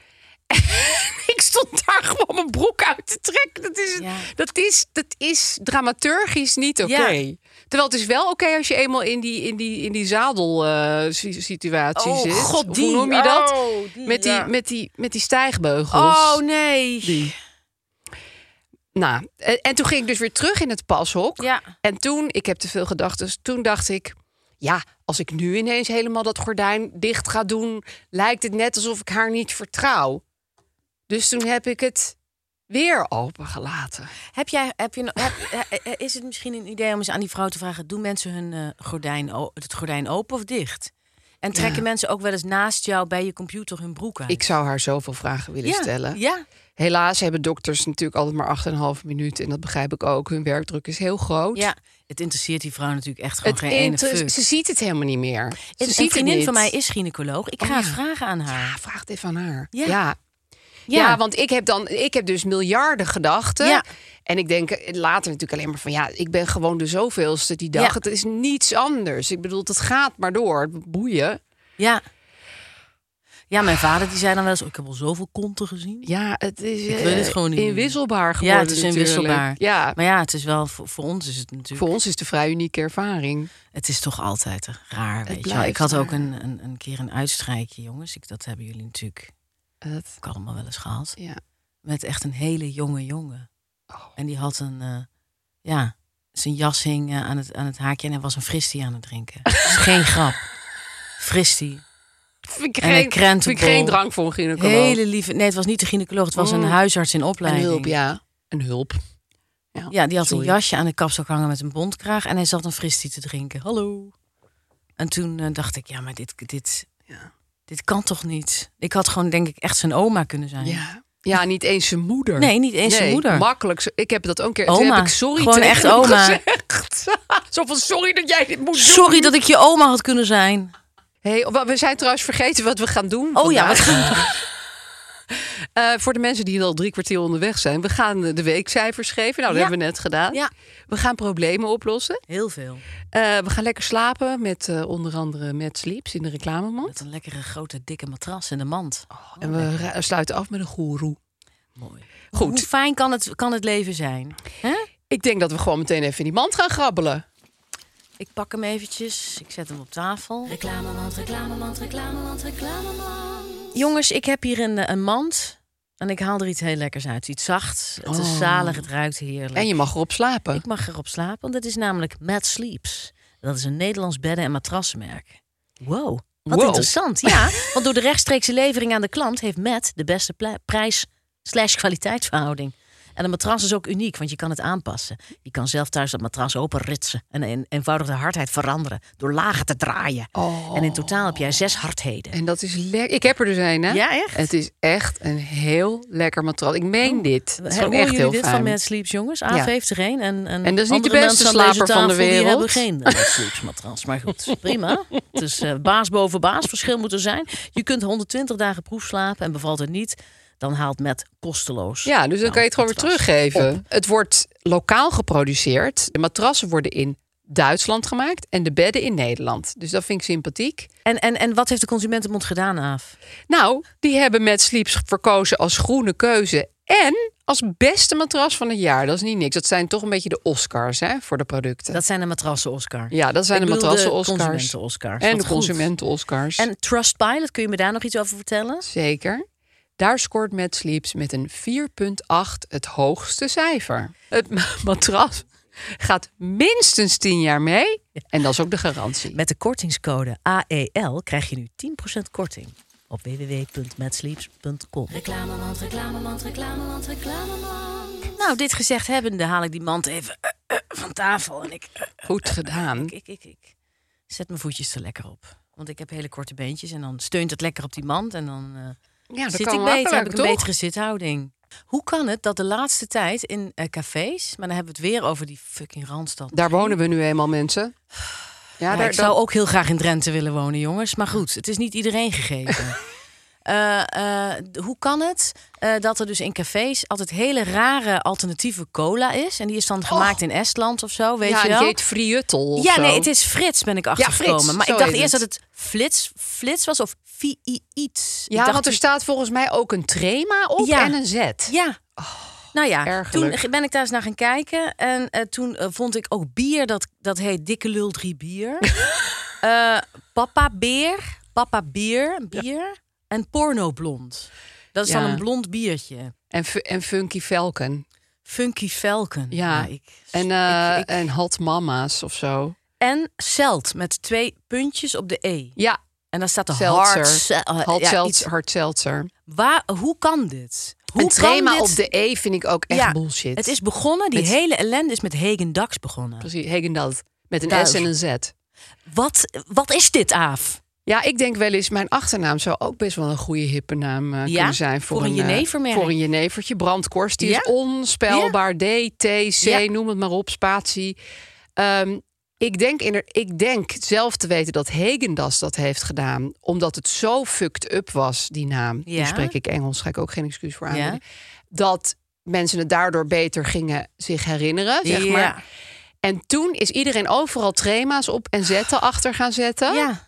Speaker 3: ik stond daar gewoon mijn broek uit te trekken. Dat is,
Speaker 4: Ja.
Speaker 3: dat is, dat is dramaturgisch niet oké.
Speaker 4: Ja.
Speaker 3: Terwijl het is wel oké als je eenmaal in die, in die, in die zadelsituatie
Speaker 4: Oh,
Speaker 3: zit.
Speaker 4: god,
Speaker 3: Of
Speaker 4: die.
Speaker 3: Hoe noem je dat?
Speaker 4: Oh, die,
Speaker 3: met, die,
Speaker 4: ja.
Speaker 3: met, die, met die stijgbeugels.
Speaker 4: Oh nee.
Speaker 3: Die. Nou, en, en toen ging ik dus weer terug in het pashok.
Speaker 4: Ja.
Speaker 3: En toen, ik heb te veel gedachten, toen dacht ik... ja, als ik nu ineens helemaal dat gordijn dicht ga doen... lijkt het net alsof ik haar niet vertrouw. Dus toen heb ik het weer opengelaten.
Speaker 4: Heb jij, heb je, heb, eh, eh, is het misschien een idee om eens aan die vrouw te vragen: doen mensen hun eh, gordijn, o- het gordijn open of dicht? En trekken
Speaker 3: Ja.
Speaker 4: mensen ook wel eens naast jou bij je computer hun broek aan?
Speaker 3: Ik zou haar zoveel vragen willen
Speaker 4: ja,
Speaker 3: stellen.
Speaker 4: Ja,
Speaker 3: Helaas hebben dokters natuurlijk altijd maar 8,5 minuten. En dat begrijp ik ook. Hun werkdruk is heel groot.
Speaker 4: ja, het interesseert die vrouw natuurlijk echt gewoon
Speaker 3: Het
Speaker 4: geen ene
Speaker 3: inter-
Speaker 4: fuck.
Speaker 3: ze ziet het helemaal niet meer. Ze
Speaker 4: Een, een
Speaker 3: ziet het
Speaker 4: vriendin
Speaker 3: niet.
Speaker 4: van mij is gynaecoloog. Ik
Speaker 3: Oh,
Speaker 4: ga
Speaker 3: ja.
Speaker 4: het vragen aan haar.
Speaker 3: Ja, vraag het even aan haar.
Speaker 4: Ja.
Speaker 3: Ja. Ja. want ik heb, dan, ik heb dus miljarden gedachten.
Speaker 4: Ja.
Speaker 3: En ik denk eh, later natuurlijk alleen maar van... ja, ik ben gewoon de zoveelste die dag.
Speaker 4: Ja.
Speaker 3: Het is niets anders. Ik bedoel, het gaat maar door. Boeien.
Speaker 4: Ja. Ja, mijn vader die zei dan wel eens: "Oh, Ik heb al zoveel konten gezien.
Speaker 3: Ja, het is
Speaker 4: Ik wil het
Speaker 3: eh,
Speaker 4: gewoon niet meer.
Speaker 3: inwisselbaar
Speaker 4: Ja,
Speaker 3: geworden
Speaker 4: het is
Speaker 3: natuurlijk.
Speaker 4: inwisselbaar.
Speaker 3: Ja,
Speaker 4: Maar ja, het is wel voor, voor ons is het natuurlijk.
Speaker 3: voor ons is het een vrij unieke ervaring.
Speaker 4: Het is toch altijd raar. Weet je. wel.
Speaker 3: blijft
Speaker 4: Ik had ook
Speaker 3: raar.
Speaker 4: een, een, een keer een uitstrijkje, jongens. Ik, dat hebben jullie natuurlijk
Speaker 3: Dat,
Speaker 4: ook allemaal wel eens gehad.
Speaker 3: ja.
Speaker 4: Met echt een hele jonge jongen.
Speaker 3: Oh.
Speaker 4: En die had een. eh, ja, zijn jas hing eh, aan, het, aan het haakje en hij was een fristie aan het drinken. Dat is geen grap. Fristie.
Speaker 3: Vind ik
Speaker 4: En een
Speaker 3: geen, vind ik
Speaker 4: krentenbol.
Speaker 3: geen drang voor een gynaecoloog.
Speaker 4: Hele lieve. Nee, het was niet de gynaecoloog, het was een
Speaker 3: Mm.
Speaker 4: huisarts in
Speaker 3: een
Speaker 4: opleiding.
Speaker 3: hulp, ja. Een hulp.
Speaker 4: Ja, die had
Speaker 3: Sorry.
Speaker 4: een jasje aan de kapstok hangen met een bondkraag. En hij zat een fristie te drinken. Hallo. En toen eh, dacht ik, ja, maar dit, dit,
Speaker 3: Ja.
Speaker 4: dit kan toch niet? Ik had gewoon, denk ik, echt zijn oma kunnen zijn.
Speaker 3: Ja. ja, niet eens zijn moeder.
Speaker 4: Nee, niet eens zijn
Speaker 3: Nee,
Speaker 4: moeder.
Speaker 3: Makkelijk. Zo- Ik heb dat ook een keer. toen
Speaker 4: Oma.
Speaker 3: heb ik sorry
Speaker 4: Gewoon
Speaker 3: tegen
Speaker 4: echt
Speaker 3: hem
Speaker 4: oma.
Speaker 3: gezegd. Zo van sorry dat jij dit moet
Speaker 4: Sorry dat ik je oma had kunnen zijn.
Speaker 3: doen. Hey, wa- we zijn trouwens vergeten wat we gaan doen.
Speaker 4: Oh ja, wat
Speaker 3: vandaag.
Speaker 4: gaan
Speaker 3: Eh, voor de mensen die al drie kwartier onderweg zijn. We gaan eh, de weekcijfers geven. Nou, dat
Speaker 4: Ja.
Speaker 3: hebben we net gedaan.
Speaker 4: Ja.
Speaker 3: We gaan problemen oplossen.
Speaker 4: Heel veel.
Speaker 3: Eh, we gaan lekker slapen met eh, onder andere Matt Sleeps in de reclamemand.
Speaker 4: Met een lekkere grote dikke matras in de mand.
Speaker 3: en we ra- sluiten af met een goeroe.
Speaker 4: Mooi.
Speaker 3: Goed.
Speaker 4: Hoe fijn kan het, kan het leven zijn? hè
Speaker 3: Ik denk dat we gewoon meteen even in die mand gaan grabbelen.
Speaker 4: Ik pak hem eventjes. Ik zet hem op tafel.
Speaker 2: Reclamemand, reclamemand, reclamemand, reclamemand.
Speaker 4: Jongens, ik heb hier een, eh, een mand. En ik haal er iets heel lekkers uit. Iets zachts. Het is
Speaker 3: Oh.
Speaker 4: zalig, het ruikt heerlijk.
Speaker 3: En je mag erop slapen.
Speaker 4: Ik mag erop slapen, want het is namelijk Mad Sleeps. Dat is een Nederlands bedden- en matrassenmerk. Wow, wat
Speaker 3: Wow.
Speaker 4: interessant. Ja, want door de rechtstreekse levering aan de klant heeft Mad de beste pla- prijs slash kwaliteitsverhouding. En een matras is ook uniek, want je kan het aanpassen. Je kan zelf thuis dat matras openritsen en een eenvoudig de hardheid veranderen door lagen te draaien.
Speaker 3: Oh.
Speaker 4: En in totaal heb jij zes hardheden.
Speaker 3: En dat is lekker. Ik heb er dus een, hè?
Speaker 4: Ja, echt?
Speaker 3: Het is echt een heel lekker matras. Ik meen dit. Het is gewoon
Speaker 4: Horen
Speaker 3: echt
Speaker 4: jullie
Speaker 3: heel
Speaker 4: dit
Speaker 3: fijn.
Speaker 4: van Mad Sleeps, jongens? Aaf
Speaker 3: Ja.
Speaker 4: heeft er één. En, en,
Speaker 3: En dat is niet de beste
Speaker 4: andere mensen aan deze
Speaker 3: slaper van de
Speaker 4: tafel, Die
Speaker 3: wereld.
Speaker 4: hebben geen eh, Mad Sleeps matras. Maar goed, prima. Het is eh, baas boven baas. Verschil moet er zijn. Je kunt 120 dagen proef slapen en bevalt het niet... dan haalt Mad kosteloos.
Speaker 3: Ja, dus dan
Speaker 4: Nou,
Speaker 3: kan je het gewoon weer
Speaker 4: matras.
Speaker 3: teruggeven. Het wordt lokaal geproduceerd. De matrassen worden in Duitsland gemaakt en de bedden in Nederland. Dus dat vind ik sympathiek.
Speaker 4: En, en, en wat heeft de consumentenbond gedaan, Aaf?
Speaker 3: Nou, die hebben met Sleeps verkozen als groene keuze en als beste matras van het jaar. Dat is niet niks. Dat zijn toch een beetje de Oscars hè, voor de producten.
Speaker 4: Dat zijn de matrassen Oscar.
Speaker 3: ja, dat zijn
Speaker 4: Ik
Speaker 3: de
Speaker 4: bedoel
Speaker 3: matrassen
Speaker 4: De
Speaker 3: Oscars.
Speaker 4: consumenten Oscars.
Speaker 3: En
Speaker 4: Wat
Speaker 3: de
Speaker 4: goed.
Speaker 3: consumenten Oscars.
Speaker 4: En Trustpilot, kun je me daar nog iets over vertellen?
Speaker 3: Zeker. Daar scoort Mad Sleeps met een 4,8 het hoogste cijfer. Het ma- matras gaat minstens 10 jaar mee. En dat is ook de garantie.
Speaker 4: Met de kortingscode AEL krijg je nu 10% korting op www.matsleeps.com.
Speaker 2: Reclamemand, reclamemand, reclamemand, reclamemand.
Speaker 4: Nou, dit gezegd hebbende haal ik die mand even eh, eh, van tafel. En ik, eh,
Speaker 3: Goed gedaan.
Speaker 4: ik, ik, ik, ik zet mijn voetjes er lekker op. Want ik heb hele korte beentjes en dan steunt het lekker op die mand. En dan eh,
Speaker 3: Ja, dat
Speaker 4: zit
Speaker 3: kan
Speaker 4: ik beter, heb
Speaker 3: makkelijk,
Speaker 4: ik een
Speaker 3: toch?
Speaker 4: betere zithouding. Hoe kan het dat de laatste tijd in eh, cafés, maar dan hebben we het weer over die fucking Randstad.
Speaker 3: Daar wonen we nu eenmaal, mensen. Ja,
Speaker 4: Ja,
Speaker 3: daar,
Speaker 4: ik zou
Speaker 3: dat-
Speaker 4: ook heel graag in Drenthe willen wonen, jongens. Maar goed, het is niet iedereen gegeven. Eh, eh, d- hoe kan het eh, dat er dus in cafés altijd hele rare alternatieve cola is? En die is dan gemaakt in Estland of zo, weet
Speaker 3: Oh. ja,
Speaker 4: je
Speaker 3: die
Speaker 4: wel?
Speaker 3: heet Friuttel of
Speaker 4: ja,
Speaker 3: zo.
Speaker 4: nee, het is Frits, ben ik achtergekomen.
Speaker 3: Frits,
Speaker 4: maar
Speaker 3: zo
Speaker 4: ik dacht
Speaker 3: heet
Speaker 4: eerst
Speaker 3: het.
Speaker 4: dat het Flits, Flits was of fi iets. Ik
Speaker 3: Ja,
Speaker 4: dacht, dus
Speaker 3: want er staat volgens mij ook een trema op
Speaker 4: Ja.
Speaker 3: en een zet.
Speaker 4: ja. nou ja,
Speaker 3: Oh, ergerlijk.
Speaker 4: toen ben ik daar eens naar gaan kijken. En eh, toen eh, vond ik ook bier, dat, dat heet Dikke Lul 3 Bier. Eh, papa Beer, Papa Bier, bier. En Porno Blond. Dat is dan
Speaker 3: Ja.
Speaker 4: een blond biertje.
Speaker 3: En, fu- en Funky Falcon.
Speaker 4: Funky Falcon. nou,
Speaker 3: Ja.
Speaker 4: ik,
Speaker 3: En, eh,
Speaker 4: ik- ik-
Speaker 3: en Hot Mama's of zo.
Speaker 4: en Celt met twee puntjes op de E.
Speaker 3: Ja,
Speaker 4: En dan staat de
Speaker 3: Seltzer.
Speaker 4: hard, eh,
Speaker 3: Hard
Speaker 4: ja,
Speaker 3: Seltzer.
Speaker 4: iets-
Speaker 3: Hard Seltzer.
Speaker 4: Waar, hoe kan dit? Hoe
Speaker 3: een
Speaker 4: kan
Speaker 3: trema
Speaker 4: dit-
Speaker 3: op de E vind ik ook echt
Speaker 4: Ja,
Speaker 3: bullshit.
Speaker 4: Het is begonnen, die
Speaker 3: Met-
Speaker 4: hele ellende is met Hegen Dax begonnen.
Speaker 3: precies Hegendald met een
Speaker 4: Duif.
Speaker 3: S en een Z.
Speaker 4: Wat, wat is dit, Aaf?
Speaker 3: Ja, ik denk wel eens, mijn achternaam zou ook best wel een goede hippe naam eh,
Speaker 4: Ja?
Speaker 3: kunnen zijn. Voor,
Speaker 4: Voor een
Speaker 3: eh,
Speaker 4: jenevermerk.
Speaker 3: Voor een jenevertje. Brandkorst, die
Speaker 4: Ja?
Speaker 3: is onspelbaar. D, T, C,
Speaker 4: Ja.
Speaker 3: noem het maar op, spatie. Ehm, ik, denk in ik denk zelf te weten dat Hegendas dat heeft gedaan. Omdat het zo fucked up was, die naam.
Speaker 4: Ja?
Speaker 3: Nu spreek ik Engels, ga ik ook geen excuus voor
Speaker 4: Ja.
Speaker 3: aanbieden. Dat mensen het daardoor beter gingen zich herinneren, zeg
Speaker 4: Ja.
Speaker 3: maar. En toen is iedereen overal trema's op en zetten achter gaan zetten.
Speaker 4: Ah. Ja.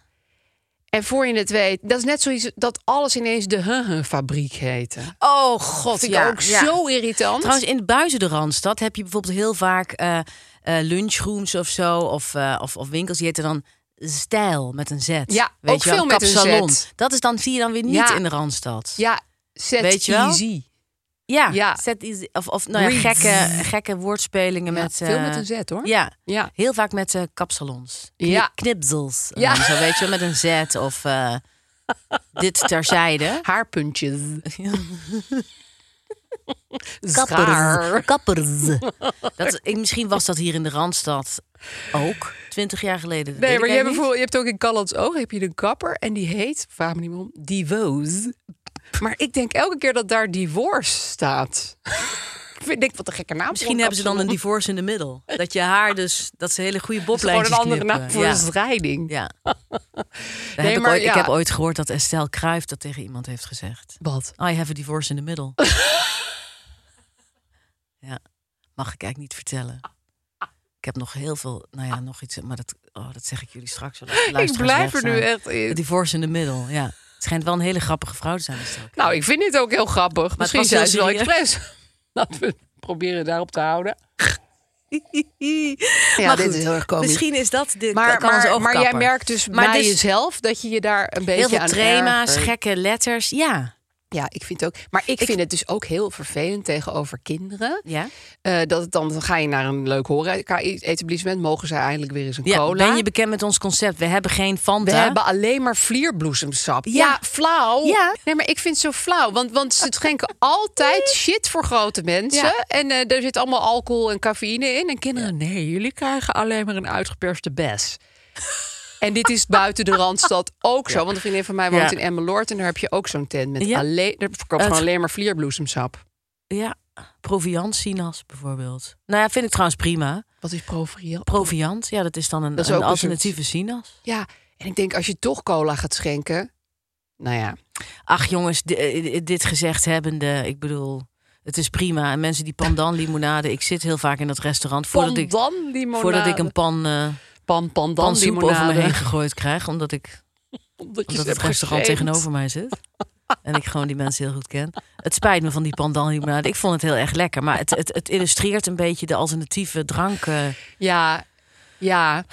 Speaker 3: En voor je het weet, dat is net zoiets dat alles ineens de huh-huh-fabriek heette. Dat
Speaker 4: Oh god,
Speaker 3: vind ik
Speaker 4: ja,
Speaker 3: ook
Speaker 4: ja.
Speaker 3: zo irritant.
Speaker 4: Trouwens, in Buizen de Randstad heb je bijvoorbeeld heel vaak eh eh, lunchrooms of zo. Of, eh, of, of winkels die heten dan stijl met een Z.
Speaker 3: Ja,
Speaker 4: Weet
Speaker 3: ook
Speaker 4: je wel,
Speaker 3: veel met een
Speaker 4: kapsalon.
Speaker 3: Z.
Speaker 4: Dat is dan, zie je dan weer niet
Speaker 3: Ja.
Speaker 4: in de Randstad.
Speaker 3: ja, zet
Speaker 4: Weet je wel?
Speaker 3: easy.
Speaker 4: Ja,
Speaker 3: Ja.
Speaker 4: zet iets- of, of nou ja,
Speaker 3: Reeds.
Speaker 4: gekke, gekke woordspelingen
Speaker 3: Ja,
Speaker 4: met...
Speaker 3: veel
Speaker 4: eh,
Speaker 3: met een Z hoor.
Speaker 4: Ja,
Speaker 3: Ja.
Speaker 4: heel vaak met eh, kapsalons. Kni-
Speaker 3: Ja.
Speaker 4: Knipsels.
Speaker 3: Ja.
Speaker 4: Ja. Zo, weet je wel, met een Z of eh, dit terzijde.
Speaker 3: Haarpuntjes.
Speaker 4: Kappers.
Speaker 3: Schaar.
Speaker 4: Kappers. Dat, ik, misschien was dat hier in de Randstad ook, twintig jaar geleden. dat
Speaker 3: Nee,
Speaker 4: weet
Speaker 3: maar
Speaker 4: ik
Speaker 3: je hebt,
Speaker 4: eigenlijk
Speaker 3: bijvoorbeeld, je hebt ook in Callands Oog heb je een kapper en die heet, vraag me niet meer om, Divoos. Maar ik denk elke keer dat daar divorce staat. ik denk wat een gekke naam.
Speaker 4: niet. Misschien hebben ze dan een divorce in de middel. Dat je haar dus, dat ze hele goede
Speaker 3: Gewoon
Speaker 4: boblijntjes
Speaker 3: een andere
Speaker 4: knippen.
Speaker 3: naam voor
Speaker 4: ja.
Speaker 3: een strijding.
Speaker 4: Ja. Daar
Speaker 3: Nee,
Speaker 4: heb
Speaker 3: maar
Speaker 4: ik, ooit,
Speaker 3: ja.
Speaker 4: ik heb ooit gehoord dat Estelle Kruijf dat tegen iemand heeft gezegd.
Speaker 3: Wat?
Speaker 4: I have a divorce in the middle. ja, mag ik eigenlijk niet vertellen. Ik heb nog heel veel, nou ja, nog iets, maar dat, oh, dat zeg ik jullie straks. wel als de
Speaker 3: Ik
Speaker 4: luisteraars
Speaker 3: blijf er
Speaker 4: weg
Speaker 3: nu
Speaker 4: zijn.
Speaker 3: echt
Speaker 4: A
Speaker 3: in.
Speaker 4: divorce in the middle, ja. Het schijnt wel een hele grappige vrouw te zijn. Estelle.
Speaker 3: Nou, ik vind dit ook heel grappig.
Speaker 4: het
Speaker 3: Misschien
Speaker 4: was
Speaker 3: zijn
Speaker 4: heel
Speaker 3: ze wel
Speaker 4: serieus.
Speaker 3: expres. Laten we het proberen daarop te houden. Ja,
Speaker 4: Maar
Speaker 3: dit
Speaker 4: goed,
Speaker 3: is heel erg komisch.
Speaker 4: Misschien is dat dit.
Speaker 3: Maar,
Speaker 4: kan
Speaker 3: maar, maar jij merkt dus
Speaker 4: Maar
Speaker 3: bij
Speaker 4: dus
Speaker 3: jezelf dat je je daar een beetje
Speaker 4: heel veel
Speaker 3: aan
Speaker 4: trema's,
Speaker 3: ergert.
Speaker 4: gekke letters. Ja,
Speaker 3: Ja, ik vind het ook. Maar ik, vind het dus ook heel vervelend tegenover kinderen.
Speaker 4: ja.
Speaker 3: Eh, dat het dan, dan ga je naar een leuk horeca-etablissement. Mogen zij eindelijk weer eens een
Speaker 4: ja.
Speaker 3: cola?
Speaker 4: Ben je bekend met ons concept? We hebben geen
Speaker 3: We
Speaker 4: Fanta.
Speaker 3: hebben alleen maar vlierbloesemsap. Ja,
Speaker 4: Ja.
Speaker 3: flauw.
Speaker 4: Ja.
Speaker 3: Nee, maar ik vind het zo flauw. Want, want ze schenken altijd shit voor grote mensen.
Speaker 4: Ja.
Speaker 3: En eh er zit allemaal alcohol en cafeïne in. En kinderen, nee, jullie krijgen alleen maar een uitgeperste bes. En dit is buiten de Randstad ook zo. Want een vriendin van mij woont
Speaker 4: Ja.
Speaker 3: in Emmeloord. En daar heb je ook zo'n tent met
Speaker 4: Ja.
Speaker 3: alleen... Daar verkoopt gewoon
Speaker 4: Het-
Speaker 3: alleen maar vlierbloesemsap.
Speaker 4: Ja, proviantsinas bijvoorbeeld. Nou ja, vind ik trouwens prima.
Speaker 3: Wat is proviel?
Speaker 4: Proviant, ja, dat is dan een,
Speaker 3: Dat is
Speaker 4: een
Speaker 3: ook een
Speaker 4: alternatieve sinas.
Speaker 3: Ja, en ik denk als je toch cola gaat schenken... Nou ja,
Speaker 4: Ach jongens, di- eh, dit gezegd hebbende, ik bedoel, het is prima. En mensen die pandan limonade, ik zit heel vaak in dat restaurant voordat ik,
Speaker 3: pandan limonade.
Speaker 4: voordat ik een pan, eh
Speaker 3: pan, pandan
Speaker 4: pan soep over me
Speaker 3: limonade.
Speaker 4: heen gegooid krijg, omdat ik
Speaker 3: Omdat
Speaker 4: omdat
Speaker 3: ze
Speaker 4: het
Speaker 3: hebt
Speaker 4: restaurant
Speaker 3: gegeven.
Speaker 4: tegenover mij zit. En ik gewoon die mensen heel goed ken. Het spijt me van die pandan limonade. Ik vond het heel erg lekker, maar het, het, het illustreert een beetje de alternatieve eh, dranken.
Speaker 3: Ja, ja.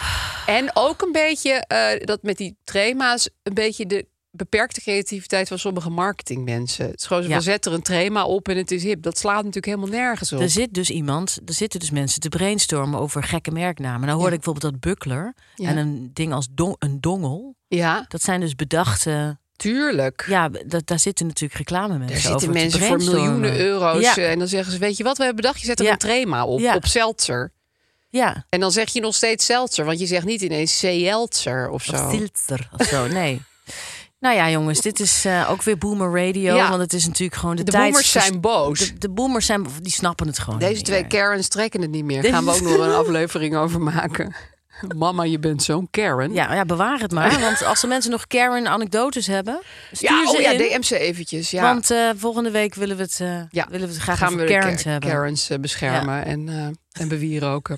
Speaker 3: En ook een beetje eh, dat met die trema's een beetje de beperkte creativiteit van sommige marketingmensen. Het is gewoon zo van,
Speaker 4: Ja.
Speaker 3: zet er een trema op en het is hip. Dat slaat natuurlijk helemaal nergens op.
Speaker 4: Er zit dus iemand, er zitten dus mensen te brainstormen over gekke merknamen. Nou hoorde ik bijvoorbeeld dat buckler
Speaker 3: Ja.
Speaker 4: en een ding als don- een dongel.
Speaker 3: ja,
Speaker 4: Dat zijn dus bedachte.
Speaker 3: tuurlijk.
Speaker 4: Ja, dat, daar zitten natuurlijk reclame mensen
Speaker 3: Er
Speaker 4: over.
Speaker 3: zitten
Speaker 4: te
Speaker 3: mensen voor
Speaker 4: brainstormen.
Speaker 3: miljoenen euro's
Speaker 4: Ja,
Speaker 3: eh, en dan zeggen ze, weet je wat, we hebben bedacht, je zet er
Speaker 4: Ja.
Speaker 3: een trema op,
Speaker 4: Ja.
Speaker 3: op Seltzer.
Speaker 4: ja.
Speaker 3: En dan zeg je nog steeds Seltzer, want je zegt niet ineens Seltzer of
Speaker 4: Of
Speaker 3: zo.
Speaker 4: filter of zo. Nee. Nou ja, jongens, dit is eh, ook weer boomer radio.
Speaker 3: Ja.
Speaker 4: Want het is natuurlijk gewoon de,
Speaker 3: De,
Speaker 4: tijd.
Speaker 3: boomers zijn boos.
Speaker 4: De, de boomers zijn. Die snappen het gewoon.
Speaker 3: Deze
Speaker 4: niet
Speaker 3: twee
Speaker 4: meer.
Speaker 3: Karens trekken het niet meer.
Speaker 4: Oh, Deze-
Speaker 3: Gaan we ook nog een aflevering over maken. Mama, je bent zo'n Karen.
Speaker 4: Ja, ja, bewaar het maar. Want als de mensen nog Karen-anekdotes hebben. Stuur
Speaker 3: Ja,
Speaker 4: ze
Speaker 3: oh ja,
Speaker 4: in.
Speaker 3: DM ze eventjes. Ja.
Speaker 4: Want eh, volgende week willen we het, eh,
Speaker 3: Ja,
Speaker 4: willen we het graag
Speaker 3: gaan
Speaker 4: over
Speaker 3: we de
Speaker 4: Karens
Speaker 3: Ka-
Speaker 4: hebben.
Speaker 3: Karens eh, beschermen en, eh en bewieroken.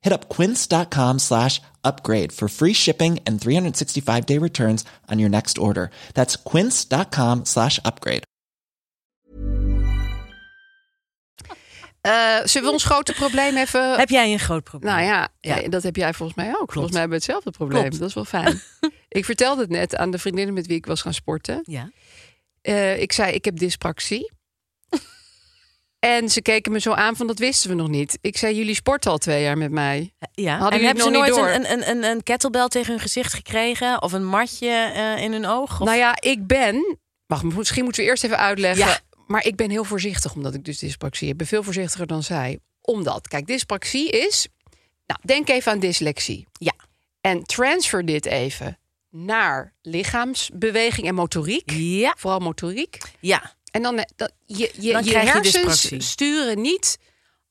Speaker 5: Hit up quince.com slash upgrade for free shipping and 365 day returns on your next order. That's quince.com slash upgrade.
Speaker 3: Eh, zullen we ons grote probleem even...
Speaker 4: Heb jij een groot probleem?
Speaker 3: Nou ja,
Speaker 4: Ja.
Speaker 3: eh, dat heb jij volgens mij ook. Volgens mij hebben we hetzelfde probleem.
Speaker 4: Klopt.
Speaker 3: Dat is wel fijn. ik vertelde het net aan de vriendinnen met wie ik was gaan sporten.
Speaker 4: Ja.
Speaker 3: Eh, ik zei, ik heb dyspraxie. en ze keken me zo aan van, dat wisten we nog niet. Ik zei, jullie sporten al twee jaar met mij.
Speaker 4: ja.
Speaker 3: Hadden
Speaker 4: en
Speaker 3: jullie
Speaker 4: hebben ze
Speaker 3: nog niet
Speaker 4: nooit
Speaker 3: door?
Speaker 4: Een, een, een, een kettlebell tegen hun gezicht gekregen? Of een matje eh, in hun oog? Of...
Speaker 3: Nou ja, ik ben... Wacht, misschien moeten we eerst even uitleggen.
Speaker 4: Ja.
Speaker 3: Maar ik ben heel voorzichtig, omdat ik dus dyspraxie heb. Ik ben veel voorzichtiger dan zij. Omdat, kijk, dyspraxie is... Nou, denk even aan dyslexie.
Speaker 4: Ja.
Speaker 3: En transfer dit even naar lichaamsbeweging en motoriek.
Speaker 4: Ja.
Speaker 3: Vooral motoriek.
Speaker 4: ja.
Speaker 3: En dan, eh, dat, je, je,
Speaker 4: Dan
Speaker 3: je
Speaker 4: krijg je
Speaker 3: hersens
Speaker 4: dyspraxie.
Speaker 3: sturen niet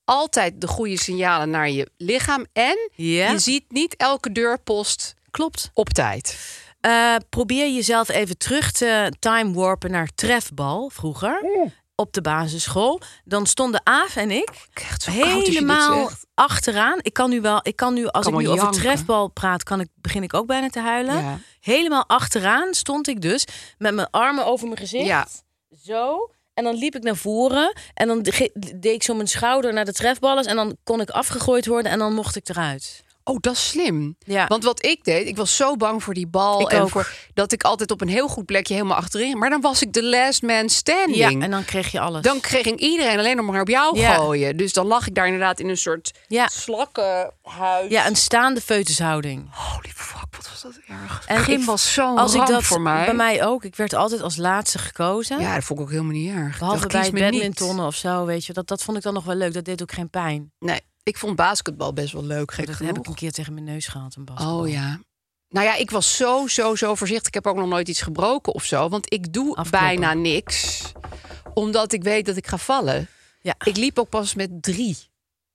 Speaker 3: altijd de goede signalen naar je lichaam. En
Speaker 4: Ja.
Speaker 3: je ziet niet elke deurpost
Speaker 4: Klopt.
Speaker 3: op tijd.
Speaker 4: Eh, probeer jezelf even terug te time warpen naar trefbal vroeger. Op de basisschool. Dan stonden Aaf en ik
Speaker 3: Echt
Speaker 4: helemaal achteraan. Ik kan nu wel, ik kan nu, als
Speaker 3: Kan
Speaker 4: ik nu
Speaker 3: wel
Speaker 4: over
Speaker 3: janken.
Speaker 4: trefbal praat, kan ik, begin ik ook bijna te huilen.
Speaker 3: Ja.
Speaker 4: Helemaal achteraan stond ik dus met mijn armen over mijn gezicht.
Speaker 3: Ja.
Speaker 4: Zo. En dan liep ik naar voren. En dan ge- deed ik zo mijn schouder naar de trefballers. En dan kon ik afgegooid worden. En dan mocht ik eruit.
Speaker 3: Oh, dat is slim.
Speaker 4: Ja.
Speaker 3: Want wat ik deed, ik was zo bang voor die bal.
Speaker 4: Ik
Speaker 3: en
Speaker 4: ook.
Speaker 3: Voor, dat ik altijd op een heel goed plekje helemaal achterin. Maar dan was ik de last man standing.
Speaker 4: Ja, en dan kreeg je alles.
Speaker 3: Dan kreeg ik iedereen alleen nog maar op jou
Speaker 4: Ja.
Speaker 3: gooien. Dus dan lag ik daar inderdaad in een soort
Speaker 4: Ja.
Speaker 3: slakkenhuis.
Speaker 4: Ja, een staande feutushouding.
Speaker 3: Holy fuck, wat was dat erg.
Speaker 4: En
Speaker 3: En Gym
Speaker 4: ik-
Speaker 3: was zo'n
Speaker 4: Als ik
Speaker 3: ramp
Speaker 4: dat
Speaker 3: voor mij.
Speaker 4: bij mij ook. Ik werd altijd als laatste gekozen.
Speaker 3: Ja, dat vond ik ook helemaal niet erg. Ik
Speaker 4: Behalve
Speaker 3: dacht,
Speaker 4: bij
Speaker 3: kies
Speaker 4: het
Speaker 3: me niet.
Speaker 4: badmintonnen of zo, weet je. Dat, dat vond ik dan nog wel leuk. Dat deed ook geen pijn.
Speaker 3: Nee, ik vond basketbal best wel leuk. Gek
Speaker 4: Oh, dat
Speaker 3: genoeg.
Speaker 4: heb ik een keer tegen mijn neus gehaald. Een basketbal.
Speaker 3: Oh ja. Nou ja, ik was zo, zo, zo voorzichtig. Ik heb ook nog nooit iets gebroken of zo. Want ik doe
Speaker 4: Afknappen.
Speaker 3: bijna niks. Omdat ik weet dat ik ga vallen.
Speaker 4: Ja.
Speaker 3: Ik liep ook pas met drie.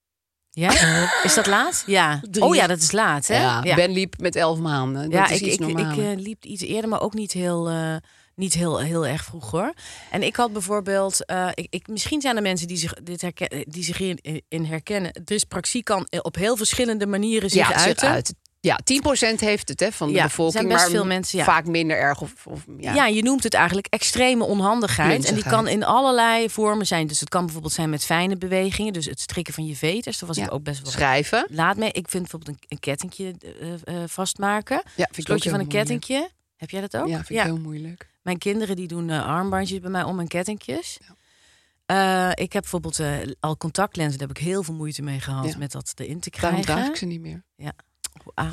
Speaker 4: Ja? Is dat laat? Ja.
Speaker 3: Drie.
Speaker 4: Oh ja, dat is laat, hè?
Speaker 3: Ja, Ben liep met elf maanden. Dat
Speaker 4: Ja,
Speaker 3: is
Speaker 4: ik,
Speaker 3: iets
Speaker 4: ik, ik
Speaker 3: normaler.
Speaker 4: eh, liep iets eerder, maar ook niet heel, eh, niet heel, heel erg vroeg hoor. En ik had bijvoorbeeld, eh, ik, ik, misschien zijn er mensen die zich, dit herken, die zich hierin eh, in herkennen. Dyspraxie kan eh, op heel verschillende manieren zich
Speaker 3: ja,
Speaker 4: uiten.
Speaker 3: uit. Ja, 10% heeft het hè, van de
Speaker 4: Ja, er
Speaker 3: bevolking.
Speaker 4: zijn best
Speaker 3: maar
Speaker 4: veel mensen, ja.
Speaker 3: vaak minder erg. Of, of, ja.
Speaker 4: Ja. je noemt het eigenlijk extreme onhandigheid. En die
Speaker 3: Klunzigheid.
Speaker 4: kan in allerlei vormen zijn. Dus het kan bijvoorbeeld zijn met fijne bewegingen. Dus het strikken van je veters. Daar was
Speaker 3: Ja.
Speaker 4: ik ook best wel
Speaker 3: Schrijven.
Speaker 4: laat mee. Ik vind bijvoorbeeld een, een kettingje eh, eh, vastmaken.
Speaker 3: Ja, vind ik ook
Speaker 4: Slotje van
Speaker 3: heel
Speaker 4: een kettingje. Heb jij dat ook?
Speaker 3: Ja, vind ik heel moeilijk.
Speaker 4: Mijn kinderen die doen eh, armbandjes bij mij om en kettingjes. Eh, ik heb bijvoorbeeld eh, al contactlenzen. Daar heb ik heel veel moeite mee gehad
Speaker 3: Ja.
Speaker 4: met dat erin te
Speaker 3: Daarom
Speaker 4: krijgen.
Speaker 3: draag ik ze niet meer.
Speaker 4: Ah.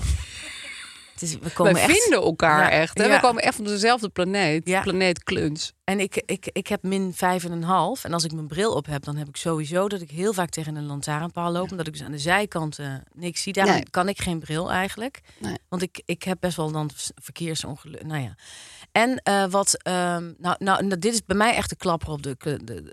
Speaker 4: Het is, we komen
Speaker 3: Wij
Speaker 4: echt...
Speaker 3: vinden elkaar
Speaker 4: Ja,
Speaker 3: echt. Hè?
Speaker 4: ja.
Speaker 3: We komen echt van dezelfde planeet.
Speaker 4: Ja.
Speaker 3: Planeet Kluns.
Speaker 4: En ik, ik, ik heb min vijf en een half. En als ik mijn bril op heb, dan heb ik sowieso dat ik heel vaak tegen een lantaarnpaal loop. Omdat ik dus aan de zijkant eh, niks zie. Daarom
Speaker 3: Nee.
Speaker 4: kan ik geen bril eigenlijk.
Speaker 3: Nee.
Speaker 4: Want ik, ik heb best wel dan s- verkeersongeluk. Nou ja. En eh, wat... ehm, nou, nou, nou, dit is bij mij echt de klapper op de, de, de,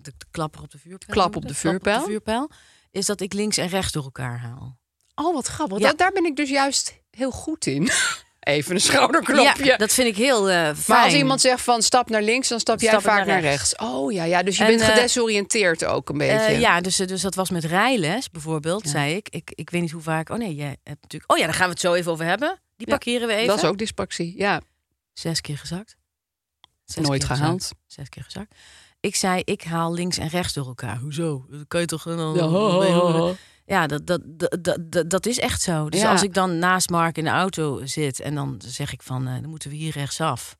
Speaker 4: de- de klapper op de vuurpijl.
Speaker 3: Klap op
Speaker 4: noem ik
Speaker 3: de
Speaker 4: dat?
Speaker 3: vuurpijl.
Speaker 4: vuurpijl. Is dat ik links en rechts door elkaar haal.
Speaker 3: Oh, wat grappig.
Speaker 4: Ja.
Speaker 3: Da- daar ben ik dus juist heel goed in. Even een schouderklopje.
Speaker 4: Ja, dat vind ik heel eh, fijn.
Speaker 3: maar als iemand zegt van stap naar links, dan stap jij
Speaker 4: Stap ik
Speaker 3: vaak
Speaker 4: naar
Speaker 3: naar,
Speaker 4: rechts.
Speaker 3: rechts. Oh ja, ja. Dus je
Speaker 4: En,
Speaker 3: bent
Speaker 4: eh,
Speaker 3: gedesoriënteerd ook een beetje.
Speaker 4: Eh, ja, dus, eh, dus dat was met rijles bijvoorbeeld, zei ik. ik. Ik weet niet hoe vaak. Oh nee, jij hebt natuurlijk. Oh ja, daar gaan we het zo even over hebben. Die
Speaker 3: Ja,
Speaker 4: parkeren we even.
Speaker 3: Dat is ook dyspraxie. Ja,
Speaker 4: Zes keer gezakt. Zes
Speaker 3: Nooit
Speaker 4: keer gezakt.
Speaker 3: gehaald.
Speaker 4: Zes keer gezakt. Ik zei, ik haal links en rechts door elkaar. Hoezo? Dat kan je toch... eh, dan-
Speaker 3: Ja, ho, ho, ho, ho.
Speaker 4: Ja, dat, dat, dat, dat- dat, dat is echt zo. Dus
Speaker 3: Ja.
Speaker 4: als ik dan naast Mark in de auto zit... en dan zeg ik van, eh, dan moeten we hier rechtsaf.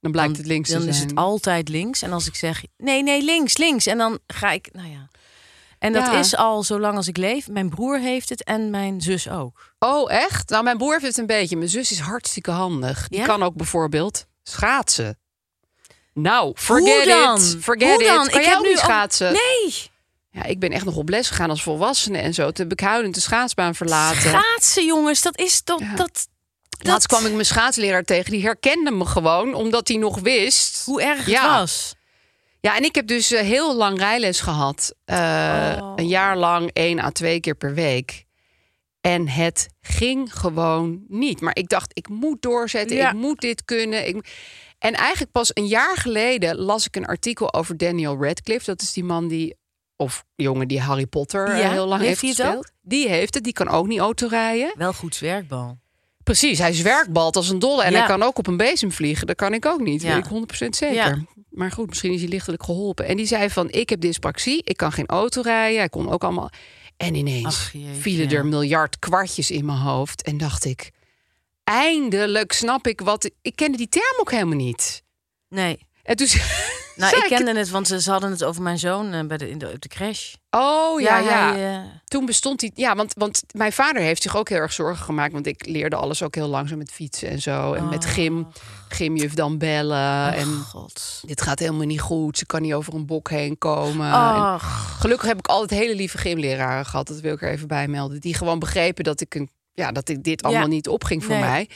Speaker 3: dan blijkt het links
Speaker 4: Dan
Speaker 3: te zijn.
Speaker 4: is het altijd links. En als ik zeg, nee, nee, links, links. En dan ga ik, nou ja. En dat
Speaker 3: Ja.
Speaker 4: is al zolang als ik leef. Mijn broer heeft het en mijn zus ook.
Speaker 3: Oh, echt? Nou, mijn broer heeft het een beetje. Mijn zus is hartstikke handig. Die
Speaker 4: Ja?
Speaker 3: kan ook bijvoorbeeld schaatsen. Nou, forget
Speaker 4: Hoe dan?
Speaker 3: it. Forget
Speaker 4: Hoe dan?
Speaker 3: it. Kan jij
Speaker 4: ik heb
Speaker 3: ook
Speaker 4: nu
Speaker 3: niet
Speaker 4: al-
Speaker 3: schaatsen?
Speaker 4: Nee,
Speaker 3: Ja, ik ben echt nog op les gegaan als volwassene en zo. Toen heb ik huilend de schaatsbaan verlaten.
Speaker 4: schaatsen jongens, dat is toch...
Speaker 3: Ja.
Speaker 4: Dat, dat,
Speaker 3: Laatst kwam ik mijn schaatsleraar tegen. Die herkende me gewoon, omdat hij nog wist.
Speaker 4: Hoe erg het
Speaker 3: Ja.
Speaker 4: was.
Speaker 3: Ja, en ik heb dus eh, heel lang rijles gehad. Eh,
Speaker 4: Oh.
Speaker 3: Een jaar lang, één à twee keer per week. En het ging gewoon niet. Maar ik dacht, ik moet doorzetten.
Speaker 4: Ja.
Speaker 3: Ik moet dit kunnen. Ik... mo- En eigenlijk pas een jaar geleden las ik een artikel over Daniel Radcliffe. Dat is die man die, of jongen die Harry Potter eh,
Speaker 4: Ja,
Speaker 3: heel lang
Speaker 4: heeft
Speaker 3: heeft,
Speaker 4: hij het
Speaker 3: gespeeld. Die heeft het, die kan ook niet autorijden.
Speaker 4: Wel goed zwerkbal.
Speaker 3: Precies, hij zwerkbalt als een dolle. En
Speaker 4: Ja.
Speaker 3: hij kan ook op een bezem vliegen. Dat kan ik ook niet,
Speaker 4: Ja.
Speaker 3: weet ik 100% zeker.
Speaker 4: Ja.
Speaker 3: Maar goed, misschien is hij lichtelijk geholpen. En die zei van, ik heb dyspraxie, ik kan geen auto rijden. Hij kon ook allemaal... En ineens
Speaker 4: Ach, jeetje.
Speaker 3: vielen er miljard kwartjes in mijn hoofd. En dacht ik, eindelijk snap ik wat... Ik kende die term ook helemaal niet.
Speaker 4: Nee.
Speaker 3: En toen
Speaker 4: Nou,
Speaker 3: zei
Speaker 4: ik kende het, want ze, ze hadden het over mijn zoon eh, bij de, in de, op de crash.
Speaker 3: Oh ja, ja.
Speaker 4: hij, eh,
Speaker 3: Toen bestond die... Ja, want, want mijn vader heeft zich ook heel erg zorgen gemaakt. Want ik leerde alles ook heel langzaam met fietsen en zo. En met gym. Gymjuf dan bellen. en
Speaker 4: God.
Speaker 3: dit gaat helemaal niet goed. Ze kan niet over een bok heen komen. Ah, En
Speaker 4: Ach,
Speaker 3: gelukkig heb ik altijd hele lieve gymleraren gehad. Dat wil ik er even bij melden. Die gewoon begrepen dat ik, een, ja, dat ik dit allemaal niet opging voor
Speaker 4: Nee.
Speaker 3: mij.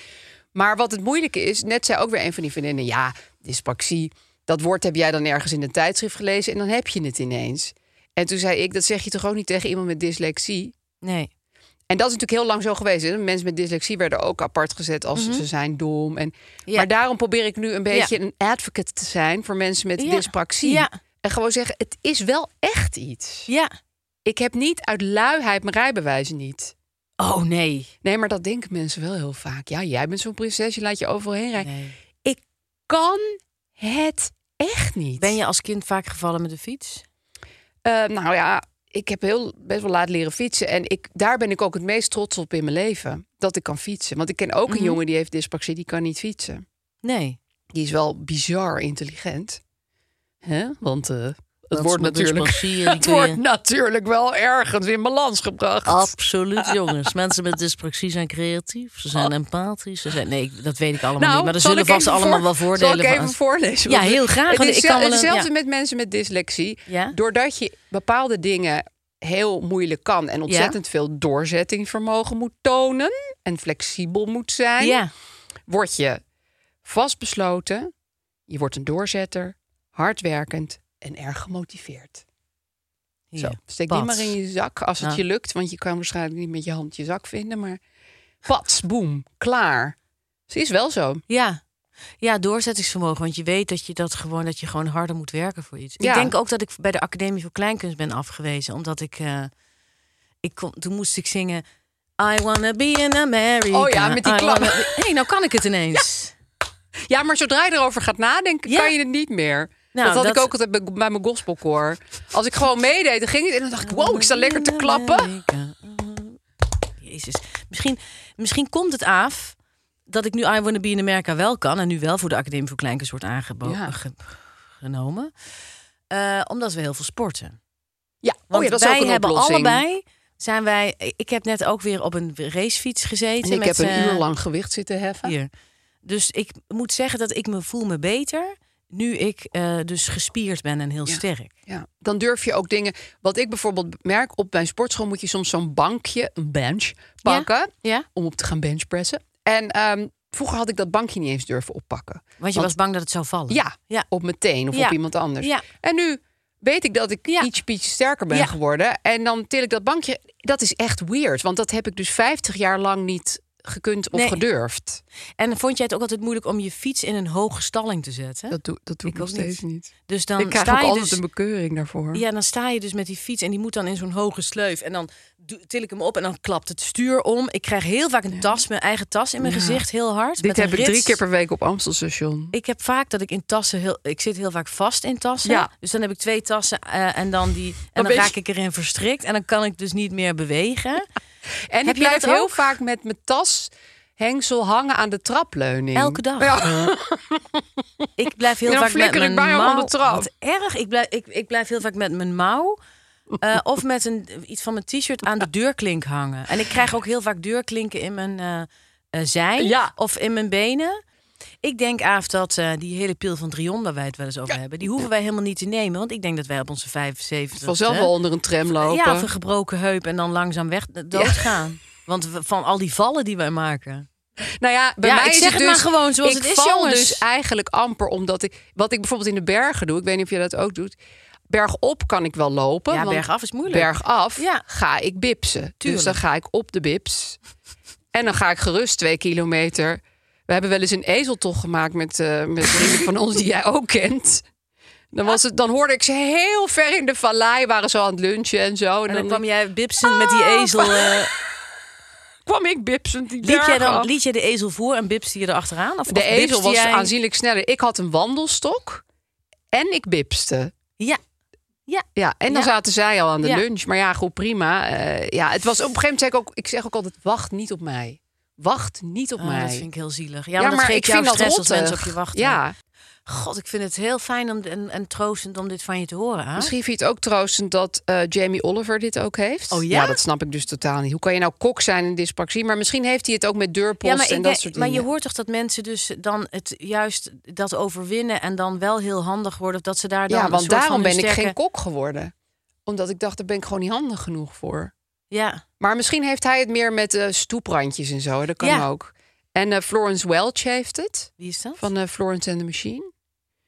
Speaker 3: Maar wat het moeilijke is, net zei ook weer een van die vriendinnen... ja, dyspraxie, dat woord heb jij dan ergens in een tijdschrift gelezen... en dan heb je het ineens. En toen zei ik, dat zeg je toch ook niet tegen iemand met dyslexie?
Speaker 4: nee.
Speaker 3: En dat is natuurlijk heel lang zo geweest. Hè? Mensen met dyslexie werden ook apart gezet als ze zijn dom. En,
Speaker 4: Mhm. Ja.
Speaker 3: Maar daarom probeer ik nu een beetje een advocate te zijn... voor mensen met
Speaker 4: Ja.
Speaker 3: dyspraxie.
Speaker 4: Ja.
Speaker 3: En gewoon zeggen, het is wel echt iets.
Speaker 4: Ja.
Speaker 3: Ik heb niet uit luiheid mijn rijbewijs niet.
Speaker 4: Oh, nee.
Speaker 3: Nee, maar dat denken mensen wel heel vaak. Ja, jij bent zo'n prinses, je laat je overal heen rijden.
Speaker 4: nee.
Speaker 3: Ik kan het echt niet.
Speaker 4: Ben je als kind vaak gevallen met de fiets?
Speaker 3: Eh, nou ja, ik heb heel best wel laat leren fietsen. En ik, daar ben ik ook het meest trots op in mijn leven. Dat ik kan fietsen. Want ik ken ook
Speaker 4: Mhm.
Speaker 3: een jongen die heeft dyspraxie, die kan niet fietsen.
Speaker 4: Nee.
Speaker 3: Die is wel bizar intelligent. hè? Want eh, het
Speaker 4: Dat is
Speaker 3: wordt
Speaker 4: met
Speaker 3: natuurlijk...
Speaker 4: dyspraxie, die
Speaker 3: Het
Speaker 4: kun je-
Speaker 3: wordt natuurlijk wel ergens in balans gebracht.
Speaker 4: Absoluut, jongens. Mensen met dyspraxie zijn creatief, ze zijn empathisch. Ze zijn... Nee, ik- dat weet ik allemaal niet. Maar er
Speaker 3: Oh. Nou, zal
Speaker 4: zullen
Speaker 3: ik even
Speaker 4: vast allemaal
Speaker 3: voor-
Speaker 4: wel voordelen
Speaker 3: zal ik even
Speaker 4: van.
Speaker 3: voorlezen?
Speaker 4: Ja,
Speaker 3: Want
Speaker 4: heel graag,
Speaker 3: Het
Speaker 4: want
Speaker 3: is
Speaker 4: ik
Speaker 3: ik
Speaker 4: kan wel een-
Speaker 3: hetzelfde
Speaker 4: ja.
Speaker 3: met mensen met dyslexie.
Speaker 4: Ja?
Speaker 3: Doordat je bepaalde dingen heel moeilijk kan... en ontzettend veel doorzettingsvermogen moet tonen... en flexibel moet zijn...
Speaker 4: Ja,
Speaker 3: word je vastbesloten, je wordt een doorzetter... hardwerkend en erg gemotiveerd. Zo,
Speaker 4: Hier,
Speaker 3: steek
Speaker 4: pats.
Speaker 3: die maar in je zak als het
Speaker 4: Ja.
Speaker 3: je lukt... want je kan waarschijnlijk niet met je hand je zak vinden... maar pats, boem, klaar. Ze is wel zo.
Speaker 4: Ja. Ja, doorzettingsvermogen. Want je weet dat je dat gewoon, dat je gewoon harder moet werken voor iets.
Speaker 3: Ja.
Speaker 4: Ik denk ook dat ik bij de Academie voor Kleinkunst ben afgewezen. Omdat ik. eh, ik kon, toen moest ik zingen. I wanna be in America.
Speaker 3: Oh ja, met die
Speaker 4: I
Speaker 3: klap.
Speaker 4: wanna be- hey, nou kan ik het ineens.
Speaker 3: Ja, maar zodra je erover gaat nadenken,
Speaker 4: Ja.
Speaker 3: kan je het niet meer.
Speaker 4: Nou,
Speaker 3: dat had
Speaker 4: dat-
Speaker 3: ik ook altijd bij, bij mijn gospelkoor. Als ik gewoon meedeed, dan ging het. En dan dacht ik, wow, ik sta lekker te klappen. oh
Speaker 4: America. Jezus. Misschien, misschien komt het af dat ik nu I Wanna Be in America wel kan. En nu wel voor de Academie voor Kleinkunst wordt aangeboden.
Speaker 3: Ja.
Speaker 4: genomen. Eh, omdat we heel veel sporten.
Speaker 3: Oh Ja,
Speaker 4: Want
Speaker 3: oh ja, dat is
Speaker 4: wij
Speaker 3: ook een
Speaker 4: hebben
Speaker 3: oplossing.
Speaker 4: allebei zijn wij. Ik heb net ook weer op een racefiets gezeten.
Speaker 3: En ik
Speaker 4: met,
Speaker 3: heb een
Speaker 4: eh,
Speaker 3: uur lang gewicht zitten heffen.
Speaker 4: hier. Dus ik moet zeggen dat ik me voel me beter nu ik eh, dus gespierd ben en heel
Speaker 3: Ja.
Speaker 4: sterk.
Speaker 3: Ja, dan durf je ook dingen. Wat ik bijvoorbeeld merk, op mijn sportschool moet je soms zo'n bankje, een bench, pakken.
Speaker 4: Ja.
Speaker 3: Om op te gaan benchpressen. En ehm, vroeger had ik dat bankje niet eens durven oppakken.
Speaker 4: Want je was bang dat het zou vallen.
Speaker 3: Ja,
Speaker 4: Ja.
Speaker 3: op meteen of
Speaker 4: Ja.
Speaker 3: op iemand anders.
Speaker 4: Ja.
Speaker 3: En nu weet ik dat ik
Speaker 4: Ja.
Speaker 3: iets ietsje sterker ben
Speaker 4: Ja.
Speaker 3: geworden. En dan til ik dat bankje. Dat is echt weird, want dat heb ik dus 50 jaar lang niet gekund of
Speaker 4: Nee.
Speaker 3: gedurfd.
Speaker 4: En vond jij het ook altijd moeilijk om je fiets in een hoge stalling te zetten?
Speaker 3: Dat doe, dat doe ik,
Speaker 4: Ik
Speaker 3: nog
Speaker 4: ook niet.
Speaker 3: steeds niet.
Speaker 4: Dus dan
Speaker 3: ik krijg ook
Speaker 4: sta je
Speaker 3: altijd
Speaker 4: dus.
Speaker 3: een bekeuring daarvoor.
Speaker 4: Ja, dan sta je dus met die fiets en die moet dan in zo'n hoge sleuf. En dan doe- til ik hem op en dan klapt het stuur om. Ik krijg heel vaak een tas, mijn eigen tas in mijn
Speaker 3: Ja.
Speaker 4: gezicht, heel hard.
Speaker 3: Dit
Speaker 4: met een
Speaker 3: heb ik drie
Speaker 4: rits.
Speaker 3: keer per week op Amstelstation.
Speaker 4: Ik heb vaak dat ik in tassen heel. Ik zit heel vaak vast in tassen.
Speaker 3: Ja.
Speaker 4: Dus dan heb ik twee tassen eh, en dan die. En
Speaker 3: Dan
Speaker 4: dan
Speaker 3: ben
Speaker 4: raak
Speaker 3: je-
Speaker 4: ik erin verstrikt. En dan kan ik dus niet meer bewegen.
Speaker 3: En
Speaker 4: Heb
Speaker 3: ik
Speaker 4: jij
Speaker 3: blijf
Speaker 4: dat
Speaker 3: heel
Speaker 4: ook?
Speaker 3: vaak met mijn tas hengsel hangen aan de trapleuning.
Speaker 4: Elke dag.
Speaker 3: Ja.
Speaker 4: Ik blijf heel
Speaker 3: En dan
Speaker 4: vaak met
Speaker 3: flikker ik
Speaker 4: mijn
Speaker 3: bijna
Speaker 4: mouw.
Speaker 3: van de trap.
Speaker 4: Wat erg. Ik blijf, ik, ik blijf heel vaak met mijn mouw. eh, of met een, iets van mijn t-shirt aan de deurklink hangen. En ik krijg ook heel vaak deurklinken in mijn eh eh, zij
Speaker 3: Ja.
Speaker 4: of in mijn benen. Ik denk, Aaf, dat eh, die hele pil van Trion waar wij het wel eens over hebben... die hoeven wij helemaal niet te nemen. Want ik denk dat wij op onze 75...
Speaker 3: Vanzelf wel onder een tram lopen.
Speaker 4: Ja, of een gebroken heup en dan langzaam weg eh, doodgaan. Want we- van al die vallen die wij maken.
Speaker 3: Nou ja, bij
Speaker 4: Ja,
Speaker 3: mij
Speaker 4: ik
Speaker 3: is
Speaker 4: zeg
Speaker 3: het
Speaker 4: het
Speaker 3: dus,
Speaker 4: maar gewoon zoals
Speaker 3: ik
Speaker 4: het is,
Speaker 3: val
Speaker 4: jongens.
Speaker 3: dus eigenlijk amper omdat ik... Wat ik bijvoorbeeld in de bergen doe, ik weet niet of jij dat ook doet... Bergop kan ik wel lopen.
Speaker 4: Ja,
Speaker 3: want
Speaker 4: bergaf is moeilijk.
Speaker 3: Bergaf
Speaker 4: Ja.
Speaker 3: ga ik bipsen. Dus
Speaker 4: Tuurlijk.
Speaker 3: dan ga ik op de bips. En dan ga ik gerust twee kilometer. We hebben wel eens een ezeltocht gemaakt met, eh, met vrienden van ons die jij ook kent. Dan, was het, dan hoorde ik ze heel ver in de vallei, waren ze al aan het lunchen en Ah, zo.
Speaker 4: En dan kwam jij bipsen met die ezel... eh,
Speaker 3: kwam ik bipsend die
Speaker 4: Liet jij,
Speaker 3: berg
Speaker 4: dan,
Speaker 3: af.
Speaker 4: liet jij de ezel voor en bipste je erachteraan? Of,
Speaker 3: De
Speaker 4: of bipste
Speaker 3: ezel was
Speaker 4: jij...
Speaker 3: aanzienlijk sneller. Ik had een wandelstok. En ik bipste.
Speaker 4: Ja. Ja.
Speaker 3: Ja, en dan
Speaker 4: Ja.
Speaker 3: zaten zij al aan de
Speaker 4: Ja.
Speaker 3: lunch. Maar ja, goed, prima. Eh, ja, het was op een gegeven moment, zeg ik, ook, ik zeg ook altijd, wacht niet op mij. Wacht niet op
Speaker 4: Oh,
Speaker 3: mij.
Speaker 4: dat vind ik heel zielig. Ja, maar, dat
Speaker 3: maar
Speaker 4: geeft
Speaker 3: ik
Speaker 4: jou
Speaker 3: vind dat
Speaker 4: stress als mensen op
Speaker 3: rottig.
Speaker 4: je wachten.
Speaker 3: Ja,
Speaker 4: God, ik vind het heel fijn om, en, en troostend om dit van je te horen. Aaf.
Speaker 3: misschien vind je het ook troostend dat eh, Jamie Oliver dit ook heeft.
Speaker 4: Oh, ja?
Speaker 3: dat snap ik dus totaal niet. Hoe kan je nou kok zijn in dyspraxie? Maar misschien heeft hij het ook met deurpost
Speaker 4: Ja, maar, ik
Speaker 3: en dat
Speaker 4: denk-
Speaker 3: soort
Speaker 4: maar
Speaker 3: dingen.
Speaker 4: je hoort toch dat mensen dus dan het juist dat overwinnen en dan wel heel handig worden. Of dat ze daar dan
Speaker 3: ja,
Speaker 4: een
Speaker 3: want
Speaker 4: soort van
Speaker 3: daarom
Speaker 4: hun
Speaker 3: ben ik
Speaker 4: sterke-
Speaker 3: geen kok geworden. Omdat ik dacht, daar ben ik gewoon niet handig genoeg voor.
Speaker 4: Ja,
Speaker 3: Maar misschien heeft hij het meer met eh, stoeprandjes en zo. Dat kan
Speaker 4: Ja.
Speaker 3: ook. En eh, Florence Welch heeft het.
Speaker 4: wie is dat?
Speaker 3: Van eh, Florence and the Machine.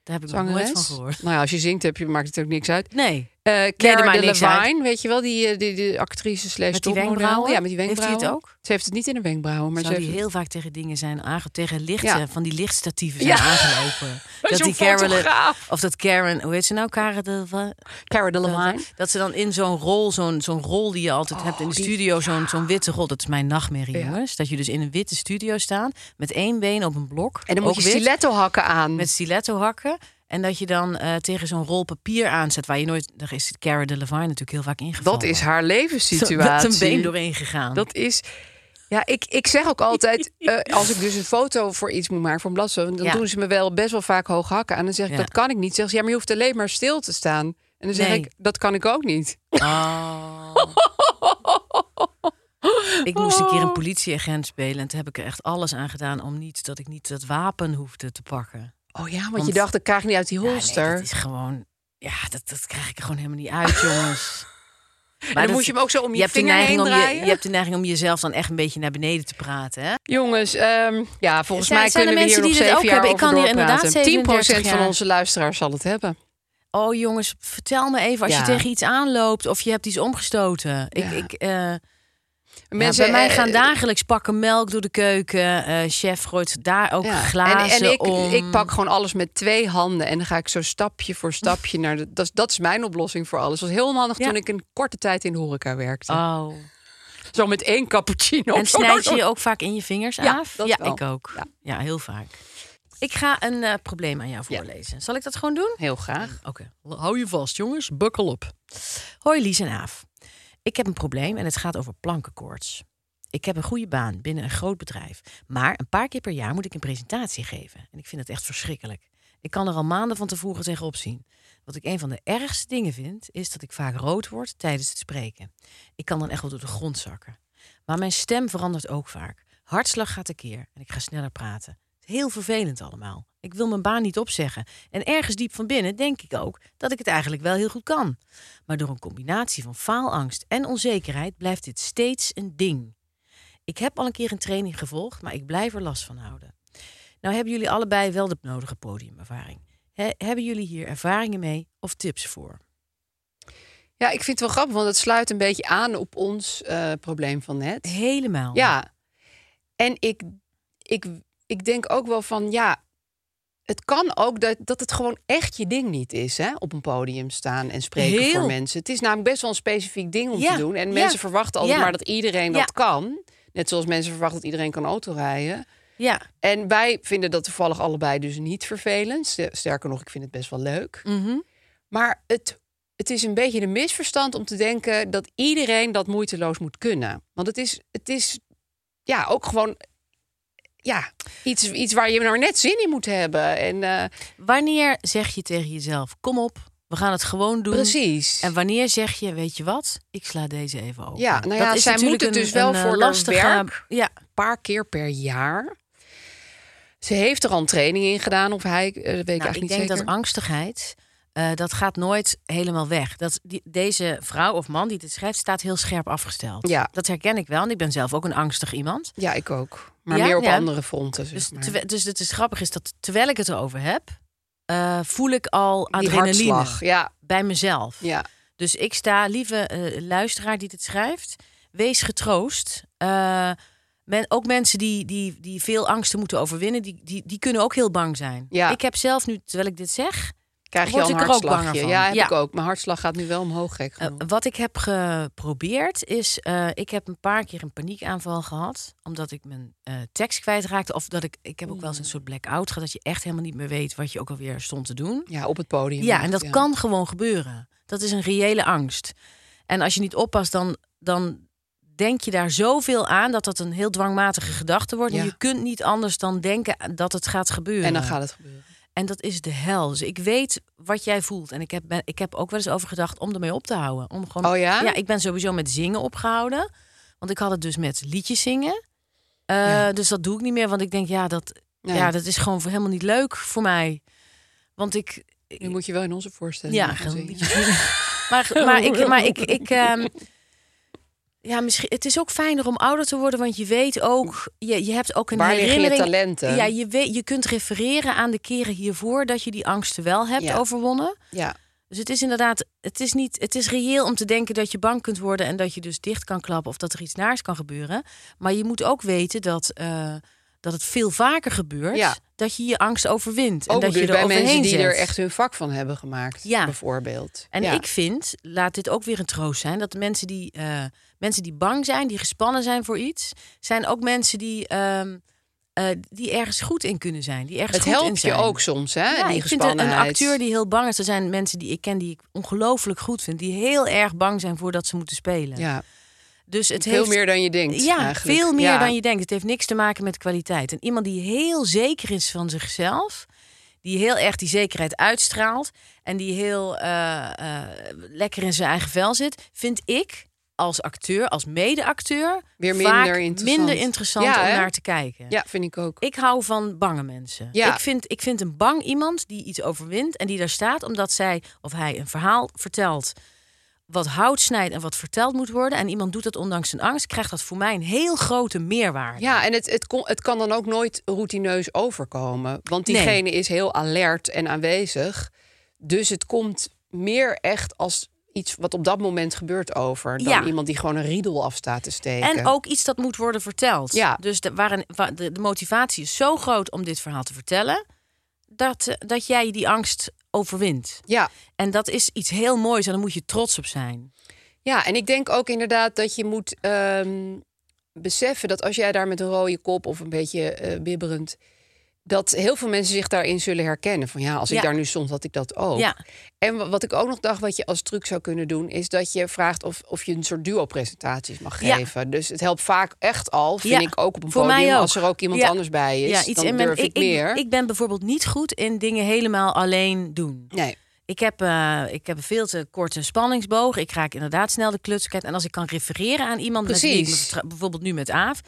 Speaker 4: daar heb ik nog nooit
Speaker 3: Zangeres.
Speaker 4: van gehoord.
Speaker 3: Nou ja, als je zingt heb je, maakt het ook niks uit.
Speaker 4: Nee,
Speaker 3: Eh
Speaker 4: dat
Speaker 3: Cara
Speaker 4: maakt niks uit.
Speaker 3: Delevingne, weet je wel, die, eh, die, die actrice slash
Speaker 4: Met die
Speaker 3: topmodel.
Speaker 4: wenkbrauwen?
Speaker 3: Ja, met die
Speaker 4: Heeft die het
Speaker 3: wenkbrauwen.
Speaker 4: ook?
Speaker 3: Ze heeft het niet in de wenkbrauwen, maar
Speaker 4: maar zou
Speaker 3: ze
Speaker 4: die
Speaker 3: heeft
Speaker 4: heel vaak tegen dingen zijn aange tegen lichten
Speaker 3: Ja.
Speaker 4: van die lichtstatieven zijn
Speaker 3: Ja.
Speaker 4: aangelopen. dat
Speaker 3: zo'n
Speaker 4: die Carolyn,
Speaker 3: fotograaf.
Speaker 4: of dat Karen, hoe heet ze nou, Karen de
Speaker 3: Cara
Speaker 4: dat,
Speaker 3: Delevingne.
Speaker 4: dat ze dan in zo'n rol, zo'n zo'n rol die je altijd hebt in de studio, zo'n zo'n witte rol. Dat is mijn nachtmerrie,
Speaker 3: Oh, Ja.
Speaker 4: jongens. Dat je dus in een witte studio staat met één been op een blok.
Speaker 3: En dan moet
Speaker 4: ook
Speaker 3: je
Speaker 4: wit,
Speaker 3: stiletto hakken aan.
Speaker 4: met stiletto hakken. En dat je dan eh, tegen zo'n rol papier aanzet waar je nooit. Daar is Cara Delevingne natuurlijk heel vaak ingevallen.
Speaker 3: Dat is haar levenssituatie.
Speaker 4: Dat een been doorheen gegaan.
Speaker 3: Dat is. Ja, ik, ik zeg ook altijd, eh, als ik dus een foto voor iets moet maken voor een bladzijde, dan
Speaker 4: Ja.
Speaker 3: doen ze me wel best wel vaak hoog hakken aan. Dan zeg ik,
Speaker 4: Ja.
Speaker 3: dat kan ik niet. Zeggen ze, ja, maar je hoeft alleen maar stil te staan. En dan zeg
Speaker 4: Nee.
Speaker 3: ik, dat kan ik ook niet.
Speaker 4: Oh. ik moest een keer
Speaker 3: Oh.
Speaker 4: een politieagent spelen en toen heb ik er echt alles aan gedaan om niet dat ik niet dat wapen hoefde te pakken.
Speaker 3: Oh ja, want,
Speaker 4: Want-
Speaker 3: je dacht, dat krijg ik niet uit die
Speaker 4: Ja, nee,
Speaker 3: holster.
Speaker 4: dat is gewoon. Ja, dat, dat krijg ik er gewoon helemaal niet uit, jongens. Maar
Speaker 3: dan
Speaker 4: dat-
Speaker 3: moet je hem ook zo om je,
Speaker 4: hebt de
Speaker 3: vinger heen
Speaker 4: neiging om je-
Speaker 3: draaien.
Speaker 4: je hebt de neiging om jezelf dan echt een beetje naar beneden te praten, hè?
Speaker 3: Jongens, ehm, ja, volgens
Speaker 4: Zijn-
Speaker 3: mij
Speaker 4: zijn er
Speaker 3: kunnen we hier
Speaker 4: mensen die
Speaker 3: nog
Speaker 4: dit
Speaker 3: zeven
Speaker 4: ook
Speaker 3: jaar
Speaker 4: hebben?
Speaker 3: over
Speaker 4: Ik kan hier inderdaad
Speaker 3: doorpraten. 10%
Speaker 4: 37
Speaker 3: van
Speaker 4: jaar.
Speaker 3: onze luisteraars zal het hebben.
Speaker 4: Oh jongens, vertel me even als
Speaker 3: Ja.
Speaker 4: je tegen iets aanloopt of je hebt iets omgestoten. Ik,
Speaker 3: Ja.
Speaker 4: ik, eh,
Speaker 3: Mensen,
Speaker 4: ja, bij mij
Speaker 3: eh,
Speaker 4: gaan dagelijks pakken melk door de keuken. eh, chef gooit daar ook
Speaker 3: ja.
Speaker 4: glazen
Speaker 3: en, en ik,
Speaker 4: om.
Speaker 3: ik pak gewoon alles met twee handen en dan ga ik zo stapje voor stapje naar de. Dat, is- dat is mijn oplossing voor alles. Het was heel onhandig
Speaker 4: Ja.
Speaker 3: toen ik een korte tijd in de horeca werkte.
Speaker 4: Oh.
Speaker 3: Zo met één cappuccino.
Speaker 4: En
Speaker 3: Zo,
Speaker 4: snijd je
Speaker 3: zo,
Speaker 4: je
Speaker 3: zo.
Speaker 4: ook vaak in je vingers
Speaker 3: Oh, Ja,
Speaker 4: af?
Speaker 3: dat wel.
Speaker 4: ik ook.
Speaker 3: Ja.
Speaker 4: Ja. heel vaak. Ik ga een eh, probleem aan jou
Speaker 3: Ja.
Speaker 4: voorlezen. Zal ik dat gewoon doen? Mm,
Speaker 3: Heel graag.
Speaker 4: Oké, hou je vast jongens, bukkel op. Hoi Lies en Aaf. Ik heb een probleem en het gaat over plankenkoorts. Ik heb een goede baan binnen een groot bedrijf, maar een paar keer per jaar moet ik een presentatie geven. En ik vind het echt verschrikkelijk. Ik kan er al maanden van tevoren tegenop zien. Wat ik een van de ergste dingen vind, is dat ik vaak rood word tijdens het spreken. Ik kan dan echt wel door de grond zakken. Maar mijn stem verandert ook vaak. Hartslag gaat tekeer en ik ga sneller praten. Het is heel vervelend allemaal. Ik wil mijn baan niet opzeggen. En ergens diep van binnen denk ik ook dat ik het eigenlijk wel heel goed kan. Maar door een combinatie van faalangst en onzekerheid blijft dit steeds een ding. Ik heb al een keer een training gevolgd, maar ik blijf er last van houden. Nou hebben jullie allebei wel de nodige podiumervaring. He- hebben jullie hier ervaringen mee of tips voor?
Speaker 3: Ja, ik vind het wel grappig, want het sluit een beetje aan op ons eh, probleem van net.
Speaker 4: Helemaal.
Speaker 3: Ja. En ik, ik, ik denk ook wel van ja. Het kan ook dat, dat het gewoon echt je ding niet is. Hè? Op een podium staan en spreken
Speaker 4: Heel.
Speaker 3: voor mensen. Het is namelijk best wel een specifiek ding om
Speaker 4: Ja,
Speaker 3: te doen. En
Speaker 4: ja,
Speaker 3: mensen verwachten altijd
Speaker 4: ja.
Speaker 3: maar dat iedereen
Speaker 4: Ja.
Speaker 3: dat kan. Net zoals mensen verwachten dat iedereen kan autorijden.
Speaker 4: Ja.
Speaker 3: En wij vinden dat toevallig allebei dus niet vervelend. Ster- Sterker nog, ik vind het best wel leuk.
Speaker 4: Mhm.
Speaker 3: Maar het, het is een beetje een misverstand om te denken dat iedereen dat moeiteloos moet kunnen. Want het is, het is ja, ook gewoon ja, iets, iets waar je nou net zin in moet hebben. En, eh,
Speaker 4: Wanneer zeg je tegen jezelf: kom op, we gaan het gewoon doen?
Speaker 3: precies.
Speaker 4: En wanneer zeg je: weet je wat, ik sla deze even open?
Speaker 3: Ja, nou ja, zij
Speaker 4: natuurlijk
Speaker 3: moet het dus wel
Speaker 4: eh,
Speaker 3: voor haar werk.
Speaker 4: Ja,
Speaker 3: een paar keer per jaar. Ze heeft er al een training in gedaan, of hij, eh, dat weet ik
Speaker 4: Nou,
Speaker 3: eigenlijk
Speaker 4: ik
Speaker 3: niet
Speaker 4: denk
Speaker 3: zeker.
Speaker 4: dat angstigheid. eh, dat gaat nooit helemaal weg. Dat die, deze vrouw of man die dit schrijft, staat heel scherp afgesteld.
Speaker 3: Ja.
Speaker 4: Dat herken ik wel. En ik ben zelf ook een angstig iemand.
Speaker 3: Ja, ik ook. Maar
Speaker 4: Ja,
Speaker 3: meer op
Speaker 4: ja.
Speaker 3: andere fronten. Zeg
Speaker 4: Dus,
Speaker 3: maar.
Speaker 4: terwe- dus het is grappig is dat terwijl ik het erover heb, eh, voel ik al
Speaker 3: Die hartslag,
Speaker 4: adrenaline
Speaker 3: ja.
Speaker 4: bij mezelf.
Speaker 3: ja.
Speaker 4: Dus ik sta, lieve eh, luisteraar die dit schrijft, wees getroost. Eh, men, ook mensen die, die, die veel angsten moeten overwinnen, die, die, die kunnen ook heel bang zijn.
Speaker 3: Ja.
Speaker 4: Ik heb zelf nu, terwijl ik dit zeg,
Speaker 3: krijg je
Speaker 4: Word
Speaker 3: al een
Speaker 4: ik er ook
Speaker 3: hartslagje.
Speaker 4: banger van.
Speaker 3: Ja, heb
Speaker 4: Ja.
Speaker 3: ik ook. Mijn hartslag gaat nu wel omhoog, gek
Speaker 4: Eh,
Speaker 3: genoeg.
Speaker 4: wat ik heb geprobeerd is, eh, ik heb een paar keer een paniekaanval gehad. Omdat ik mijn eh, tekst kwijtraakte. Of dat ik, ik heb ook wel eens
Speaker 3: Mm.
Speaker 4: een soort blackout gehad. Dat je echt helemaal niet meer weet wat je ook alweer stond te doen.
Speaker 3: ja, op het podium.
Speaker 4: Ja, en dat kan gewoon gebeuren. Dat is een reële angst. En als je niet oppast, dan, dan denk je daar zoveel aan dat dat een heel dwangmatige gedachte wordt.
Speaker 3: Ja.
Speaker 4: En je kunt niet anders dan denken dat het gaat gebeuren.
Speaker 3: En dan gaat het gebeuren.
Speaker 4: En dat is de hel. Dus ik weet wat jij voelt. En ik heb, ben, ik heb ook wel eens over gedacht om ermee op te houden. Om gewoon,
Speaker 3: Oh ja?
Speaker 4: ik ben sowieso met zingen opgehouden. Want ik had het dus met liedjes zingen. Eh,
Speaker 3: Ja.
Speaker 4: Dus dat doe ik niet meer. Want ik denk, ja, dat,
Speaker 3: Nee.
Speaker 4: ja, dat is gewoon voor- helemaal niet leuk voor mij. Want ik,
Speaker 3: Nu moet je wel in onze voorstelling
Speaker 4: ja,
Speaker 3: gaan
Speaker 4: gewoon
Speaker 3: zingen.
Speaker 4: liedjes zingen. maar, maar ik, maar ik, ik ehm, ja, misschien. Het is ook fijner om ouder te worden, want je weet ook, je, je hebt ook een
Speaker 3: Waar liggen je
Speaker 4: herinnering.
Speaker 3: talenten?
Speaker 4: Ja, je weet, je kunt refereren aan de keren hiervoor dat je die angsten wel hebt
Speaker 3: Ja.
Speaker 4: overwonnen.
Speaker 3: Ja.
Speaker 4: Dus het is inderdaad, het is niet, het is reëel om te denken dat je bang kunt worden en dat je dus dicht kan klappen of dat er iets naars kan gebeuren. Maar je moet ook weten dat. eh, dat het veel vaker gebeurt
Speaker 3: Ja.
Speaker 4: dat je je angst overwint. en
Speaker 3: Ook
Speaker 4: dat
Speaker 3: dus
Speaker 4: je er
Speaker 3: bij
Speaker 4: overheen
Speaker 3: mensen die
Speaker 4: zet.
Speaker 3: er echt hun vak van hebben gemaakt,
Speaker 4: Ja.
Speaker 3: bijvoorbeeld.
Speaker 4: En
Speaker 3: Ja.
Speaker 4: ik vind, laat dit ook weer een troost zijn, dat mensen die, eh, mensen die bang zijn, die gespannen zijn voor iets, zijn ook mensen die, ehm, eh, die ergens goed in kunnen zijn. Die ergens
Speaker 3: het
Speaker 4: goed in
Speaker 3: helpt je
Speaker 4: zijn.
Speaker 3: ook soms, hè?
Speaker 4: Ja,
Speaker 3: die
Speaker 4: ik vind een, een
Speaker 3: gespannenheid.
Speaker 4: acteur die heel bang is. Er zijn mensen die ik ken die ik ongelooflijk goed vind, die heel erg bang zijn voordat ze moeten spelen.
Speaker 3: Ja,
Speaker 4: Dus het
Speaker 3: veel
Speaker 4: heeft,
Speaker 3: meer dan je denkt.
Speaker 4: ja,
Speaker 3: eigenlijk.
Speaker 4: veel meer
Speaker 3: Ja.
Speaker 4: dan je denkt. Het heeft niks te maken met kwaliteit. En iemand die heel zeker is van zichzelf, die heel erg die zekerheid uitstraalt en die heel eh, eh, lekker in zijn eigen vel zit, vind ik als acteur, als mede-acteur,
Speaker 3: Weer
Speaker 4: vaak
Speaker 3: minder interessant.
Speaker 4: minder interessant
Speaker 3: Ja,
Speaker 4: om
Speaker 3: hè?
Speaker 4: naar te kijken.
Speaker 3: Ja, vind ik ook.
Speaker 4: Ik hou van bange mensen.
Speaker 3: Ja.
Speaker 4: Ik, vind, ik vind een bang iemand die iets overwint en die daar staat omdat zij of hij een verhaal vertelt wat hout snijdt en wat verteld moet worden. En iemand doet dat ondanks zijn angst, krijgt dat voor mij een heel grote meerwaarde.
Speaker 3: Ja, en het, het, kon, het kan dan ook nooit routineus overkomen. Want
Speaker 4: Nee.
Speaker 3: diegene is heel alert en aanwezig. Dus het komt meer echt als iets wat op dat moment gebeurt over. Dan
Speaker 4: Ja.
Speaker 3: iemand die gewoon een riedel af staat te steken.
Speaker 4: En ook iets dat moet worden verteld.
Speaker 3: Ja.
Speaker 4: Dus de, waarin, wa- de, de motivatie is zo groot om dit verhaal te vertellen, dat, eh, dat jij die angst overwint.
Speaker 3: Ja.
Speaker 4: En dat is iets heel moois en daar moet je trots op zijn.
Speaker 3: ja, en ik denk ook inderdaad dat je moet ehm, beseffen dat als jij daar met een rode kop of een beetje eh, bibberend. Dat heel veel mensen zich daarin zullen herkennen. Van ja, als ik
Speaker 4: Ja.
Speaker 3: daar nu stond, had ik dat ook.
Speaker 4: Ja.
Speaker 3: En wa- wat ik ook nog dacht, wat je als truc zou kunnen doen, is dat je vraagt of, of je een soort duo-presentaties mag
Speaker 4: Ja.
Speaker 3: geven. Dus het helpt vaak echt al, vind
Speaker 4: Ja,
Speaker 3: ik ook op een
Speaker 4: voor
Speaker 3: podium.
Speaker 4: mij ook.
Speaker 3: Als er ook iemand
Speaker 4: Ja.
Speaker 3: anders bij is, dan
Speaker 4: in mijn-
Speaker 3: durf ik, meer.
Speaker 4: Ik, ben bijvoorbeeld niet goed in dingen helemaal alleen doen.
Speaker 3: nee,
Speaker 4: Ik heb, eh, ik heb een veel te korte spanningsboog. Ik raak inderdaad snel de kluts kwijt. En als ik kan refereren aan iemand, met wie ik me
Speaker 3: Precies.
Speaker 4: vertrouw- bijvoorbeeld nu met Aaf,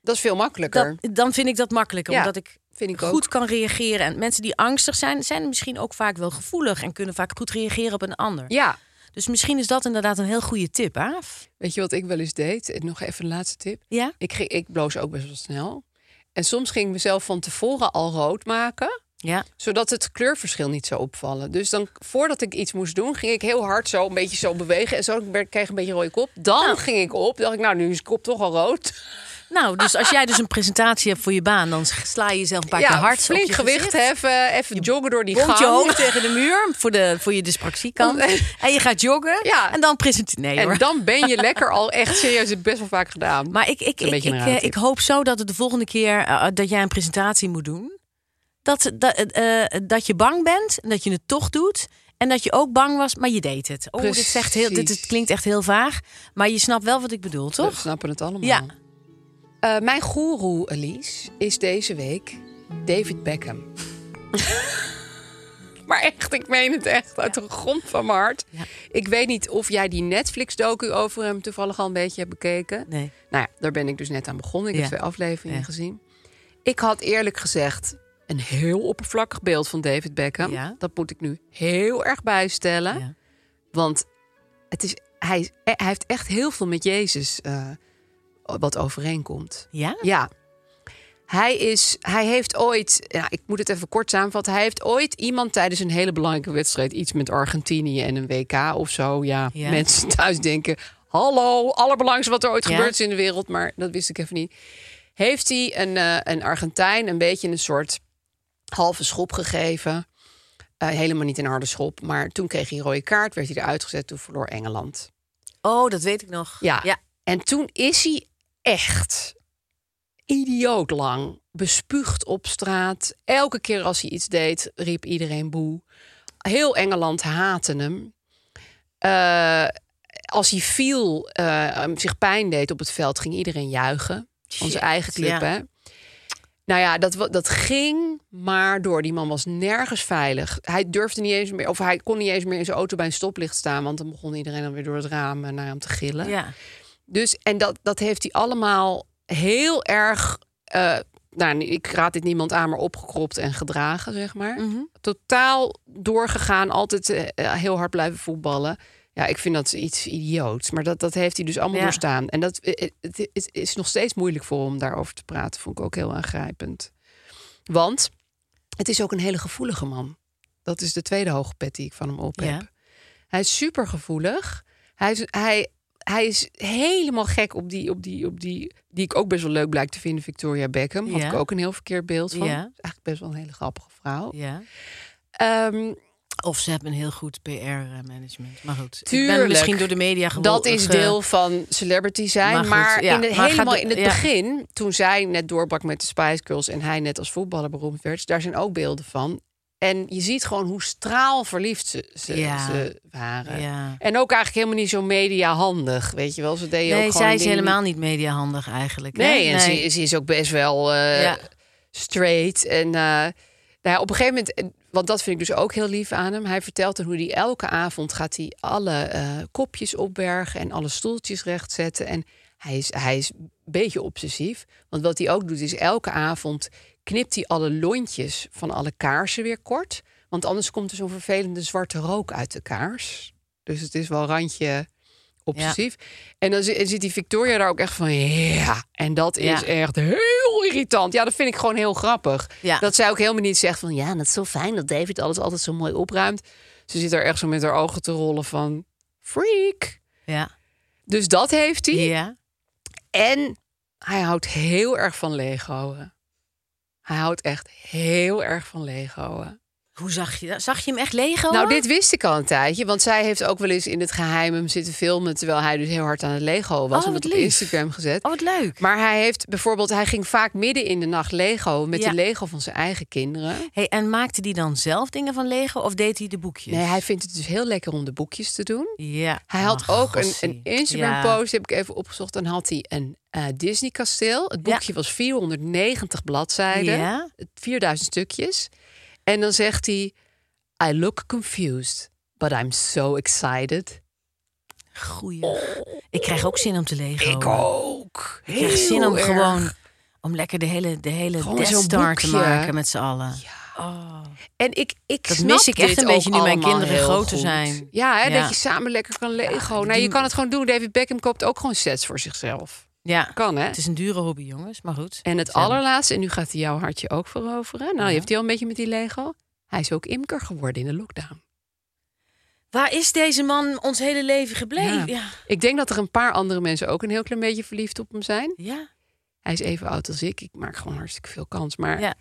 Speaker 3: dat is veel makkelijker.
Speaker 4: dat, dan vind ik dat makkelijker.
Speaker 3: Ja,
Speaker 4: omdat ik,
Speaker 3: vind ik ook.
Speaker 4: goed kan reageren. En mensen die angstig zijn, zijn misschien ook vaak wel gevoelig en kunnen vaak goed reageren op een ander.
Speaker 3: Ja,
Speaker 4: Dus misschien is dat inderdaad een heel goede tip, Aaf.
Speaker 3: weet je wat ik wel eens deed? En Nog even een laatste tip.
Speaker 4: Ja?
Speaker 3: Ik, ging- ik bloos ook best wel snel. En soms ging ik mezelf van tevoren al rood maken.
Speaker 4: Ja.
Speaker 3: zodat het kleurverschil niet zou opvallen. Dus dan, voordat ik iets moest doen, ging ik heel hard zo een beetje zo bewegen. En zo ik werd- kreeg een beetje een rode kop. Dan ging ik op. dacht ik, nou, nu is de kop toch al rood.
Speaker 4: Nou, dus als jij dus een presentatie hebt voor je baan, dan sla je jezelf een paar keer hard. op
Speaker 3: flink
Speaker 4: je
Speaker 3: gewicht
Speaker 4: gezicht.
Speaker 3: heffen. Even joggen door die gang.
Speaker 4: Komt je hoofd tegen de muur voor, de, voor je dyspraxie kan. En je gaat joggen.
Speaker 3: Ja.
Speaker 4: En dan presenteer. Nee
Speaker 3: En
Speaker 4: hoor.
Speaker 3: dan ben je lekker al echt serieus. Het best wel vaak gedaan.
Speaker 4: Maar ik, ik,
Speaker 3: een
Speaker 4: ik, ik,
Speaker 3: beetje een
Speaker 4: eh,
Speaker 3: rare tip.
Speaker 4: ik hoop zo dat het de volgende keer eh, dat jij een presentatie moet doen. Dat, dat, eh, eh, dat je bang bent en dat je het toch doet. En dat je ook bang was, maar je deed het. Oh, dit, zegt heel, dit, dit
Speaker 3: Precies.
Speaker 4: klinkt echt heel vaag. Maar je snapt wel wat ik bedoel,
Speaker 3: We
Speaker 4: toch?
Speaker 3: snappen het allemaal.
Speaker 4: Ja.
Speaker 3: Eh, mijn goeroe, Elise, is deze week David Beckham. maar echt, ik meen het echt uit de grond van mijn hart.
Speaker 4: Ja.
Speaker 3: Ik weet niet of jij die Netflix-docu over hem toevallig al een beetje hebt bekeken.
Speaker 4: Nee.
Speaker 3: Nou ja, daar ben ik dus net aan begonnen. Ik
Speaker 4: Ja.
Speaker 3: heb twee afleveringen
Speaker 4: Ja.
Speaker 3: gezien. Ik had eerlijk gezegd een heel oppervlakkig beeld van David Beckham.
Speaker 4: Ja.
Speaker 3: Dat moet ik nu heel erg bijstellen.
Speaker 4: Ja.
Speaker 3: Want het is, hij, is- hij heeft echt heel veel met Jezus eh, wat overeenkomt.
Speaker 4: Ja?
Speaker 3: Ja. Hij, is, hij heeft ooit, ja, ik moet het even kort samenvatten. Hij heeft ooit iemand tijdens een hele belangrijke wedstrijd, iets met Argentinië en een WK of zo. Ja,
Speaker 4: Ja.
Speaker 3: mensen thuis denken: hallo, allerbelangrijkste wat er ooit
Speaker 4: Ja.
Speaker 3: gebeurd is in de wereld. Maar dat wist ik even niet. Heeft hij een, eh, een Argentijn een beetje een soort halve schop gegeven? Eh, helemaal niet in harde schop. Maar toen kreeg hij een rode kaart, werd hij eruit gezet. Toen verloor Engeland.
Speaker 4: Oh, dat weet ik nog.
Speaker 3: Ja.
Speaker 4: ja.
Speaker 3: En toen is hij echt idioot lang bespuugd op straat. Elke keer als hij iets deed, riep iedereen boe. Heel Engeland haatte hem. Eh, als hij viel, eh, zich pijn deed op het veld, ging iedereen juichen. Onze
Speaker 4: Shit,
Speaker 3: eigen club,
Speaker 4: ja.
Speaker 3: hè? Nou ja, dat, wa- dat ging maar door. Die man was nergens veilig. Hij durfde niet eens meer, of hij kon niet eens meer in zijn auto bij een stoplicht staan. Want dan begon iedereen dan weer door het raam eh, naar hem te gillen.
Speaker 4: Ja.
Speaker 3: Dus, en dat, dat heeft hij allemaal heel erg. eh, nou, ik raad dit niemand aan, maar opgekropt en gedragen, zeg maar.
Speaker 4: Mhm.
Speaker 3: Totaal doorgegaan, altijd eh, heel hard blijven voetballen. Ja, ik vind dat iets idioots. Maar dat, dat heeft hij dus allemaal
Speaker 4: Ja.
Speaker 3: doorstaan. En dat eh, eh, het is, is nog steeds moeilijk voor hem om daarover te praten. Vond ik ook heel aangrijpend. Want het is ook een hele gevoelige man. Dat is de tweede hoge pet die ik van hem op
Speaker 4: Ja.
Speaker 3: heb. Hij is super gevoelig. Hij is, hij, hij is helemaal gek op die, op die, op die, die ik ook best wel leuk blijk te vinden, Victoria Beckham. Had
Speaker 4: Ja.
Speaker 3: ik ook een heel verkeerd beeld van.
Speaker 4: Ja.
Speaker 3: Is Eigenlijk best wel een hele grappige vrouw.
Speaker 4: ja.
Speaker 3: Ehm,
Speaker 4: Of ze hebben een heel goed PR-management. Maar goed, ik ben
Speaker 3: Tuurlijk.
Speaker 4: misschien door de media gewoon...
Speaker 3: dat is deel van celebrity zijn.
Speaker 4: Maar
Speaker 3: Maar,
Speaker 4: goed, ja.
Speaker 3: in het,
Speaker 4: Maar gaat
Speaker 3: helemaal
Speaker 4: de-
Speaker 3: in het
Speaker 4: ja.
Speaker 3: begin, toen zij net doorbrak met de Spice Girls en hij net als voetballer beroemd werd, daar zijn ook beelden van. En je ziet gewoon hoe straalverliefd ze, ze,
Speaker 4: Ja.
Speaker 3: ze waren.
Speaker 4: Ja.
Speaker 3: En ook eigenlijk helemaal niet zo mediahandig, weet je wel. Ze deden ook
Speaker 4: Nee,
Speaker 3: gewoon
Speaker 4: zij is
Speaker 3: dingen die-
Speaker 4: helemaal niet mediahandig eigenlijk. hè?
Speaker 3: Nee, en Ze, ze is ook best wel eh,
Speaker 4: Ja.
Speaker 3: straight. En eh, nou ja, op een gegeven moment, en- want dat vind ik dus ook heel lief aan hem. Hij vertelt dan hoe hij elke avond gaat hij alle eh, kopjes opbergen en alle stoeltjes rechtzetten. En hij is, hij is een beetje obsessief. Want wat hij ook doet, is elke avond knipt hij alle lontjes van alle kaarsen weer kort. Want anders komt er zo'n vervelende zwarte rook uit de kaars. Dus het is wel randje obsessief. En dan zi- zit die Victoria daar ook echt van, ja. En dat is
Speaker 4: Ja.
Speaker 3: echt heel irritant. Ja, dat vind ik gewoon heel grappig.
Speaker 4: Ja.
Speaker 3: Dat zij ook helemaal niet zegt van, ja, dat is zo fijn dat David alles altijd zo mooi opruimt. Ze zit daar echt zo met haar ogen te rollen van, freak.
Speaker 4: Ja.
Speaker 3: Dus dat heeft hij.
Speaker 4: ja.
Speaker 3: En hij houdt heel erg van Lego'en. Hij houdt echt heel erg van Lego'en.
Speaker 4: Hoe zag je dat? Zag je hem echt Lego?
Speaker 3: Nou, dit wist ik al een tijdje. Want zij heeft ook wel eens in het geheim hem zitten filmen... terwijl hij dus heel hard aan het Lego was.
Speaker 4: Oh,
Speaker 3: en
Speaker 4: wat
Speaker 3: dat op
Speaker 4: lief.
Speaker 3: Instagram gezet.
Speaker 4: Oh, wat leuk.
Speaker 3: Maar hij heeft bijvoorbeeld... Hij ging vaak midden in de nacht Lego... met
Speaker 4: Ja.
Speaker 3: de Lego van zijn eigen kinderen.
Speaker 4: Hey, en maakte die dan zelf dingen van Lego of deed hij de boekjes?
Speaker 3: Nee, hij vindt het dus heel lekker om de boekjes te doen.
Speaker 4: Ja.
Speaker 3: Hij had
Speaker 4: Oh,
Speaker 3: ook een,
Speaker 4: gossie.
Speaker 3: een Instagram
Speaker 4: Ja.
Speaker 3: post, die heb ik even opgezocht. Dan had hij een eh, Disney kasteel. Het
Speaker 4: Ja.
Speaker 3: boekje was 490 bladzijden.
Speaker 4: Ja.
Speaker 3: 4000 stukjes. En dan zegt hij... I look confused, but I'm so excited.
Speaker 4: Goeie. Ik krijg ook zin om te Lego.
Speaker 3: Ik ook.
Speaker 4: Ik krijg zin om gewoon om lekker de hele, de hele
Speaker 3: Gewoon
Speaker 4: Death
Speaker 3: zo'n
Speaker 4: Star te
Speaker 3: boekje.
Speaker 4: maken met z'n allen. Oh.
Speaker 3: En ik, ik
Speaker 4: Dat
Speaker 3: snap
Speaker 4: mis ik echt
Speaker 3: dit
Speaker 4: een beetje
Speaker 3: ook
Speaker 4: nu mijn
Speaker 3: allemaal
Speaker 4: kinderen
Speaker 3: heel
Speaker 4: groter
Speaker 3: goed.
Speaker 4: zijn.
Speaker 3: Ja, hè,
Speaker 4: Ja.
Speaker 3: dat je samen lekker kan Lego. nou, je
Speaker 4: die-
Speaker 3: kan het gewoon doen. David Beckham koopt ook gewoon sets voor zichzelf.
Speaker 4: Ja.
Speaker 3: Kan, hè?
Speaker 4: Het is een dure hobby, jongens, maar goed.
Speaker 3: En het
Speaker 4: Zo.
Speaker 3: allerlaatste, en nu gaat hij jouw hartje ook veroveren. Nou, je heeft hij al een beetje met die Lego. Hij is ook imker geworden in de lockdown.
Speaker 4: Waar is deze man ons hele leven gebleven?
Speaker 3: Ja.
Speaker 4: Ja.
Speaker 3: Ik denk dat er een paar andere mensen ook een heel klein beetje verliefd op hem zijn.
Speaker 4: Ja.
Speaker 3: Hij is even oud als ik. Ik maak gewoon hartstikke veel kans. Maar
Speaker 4: Ja.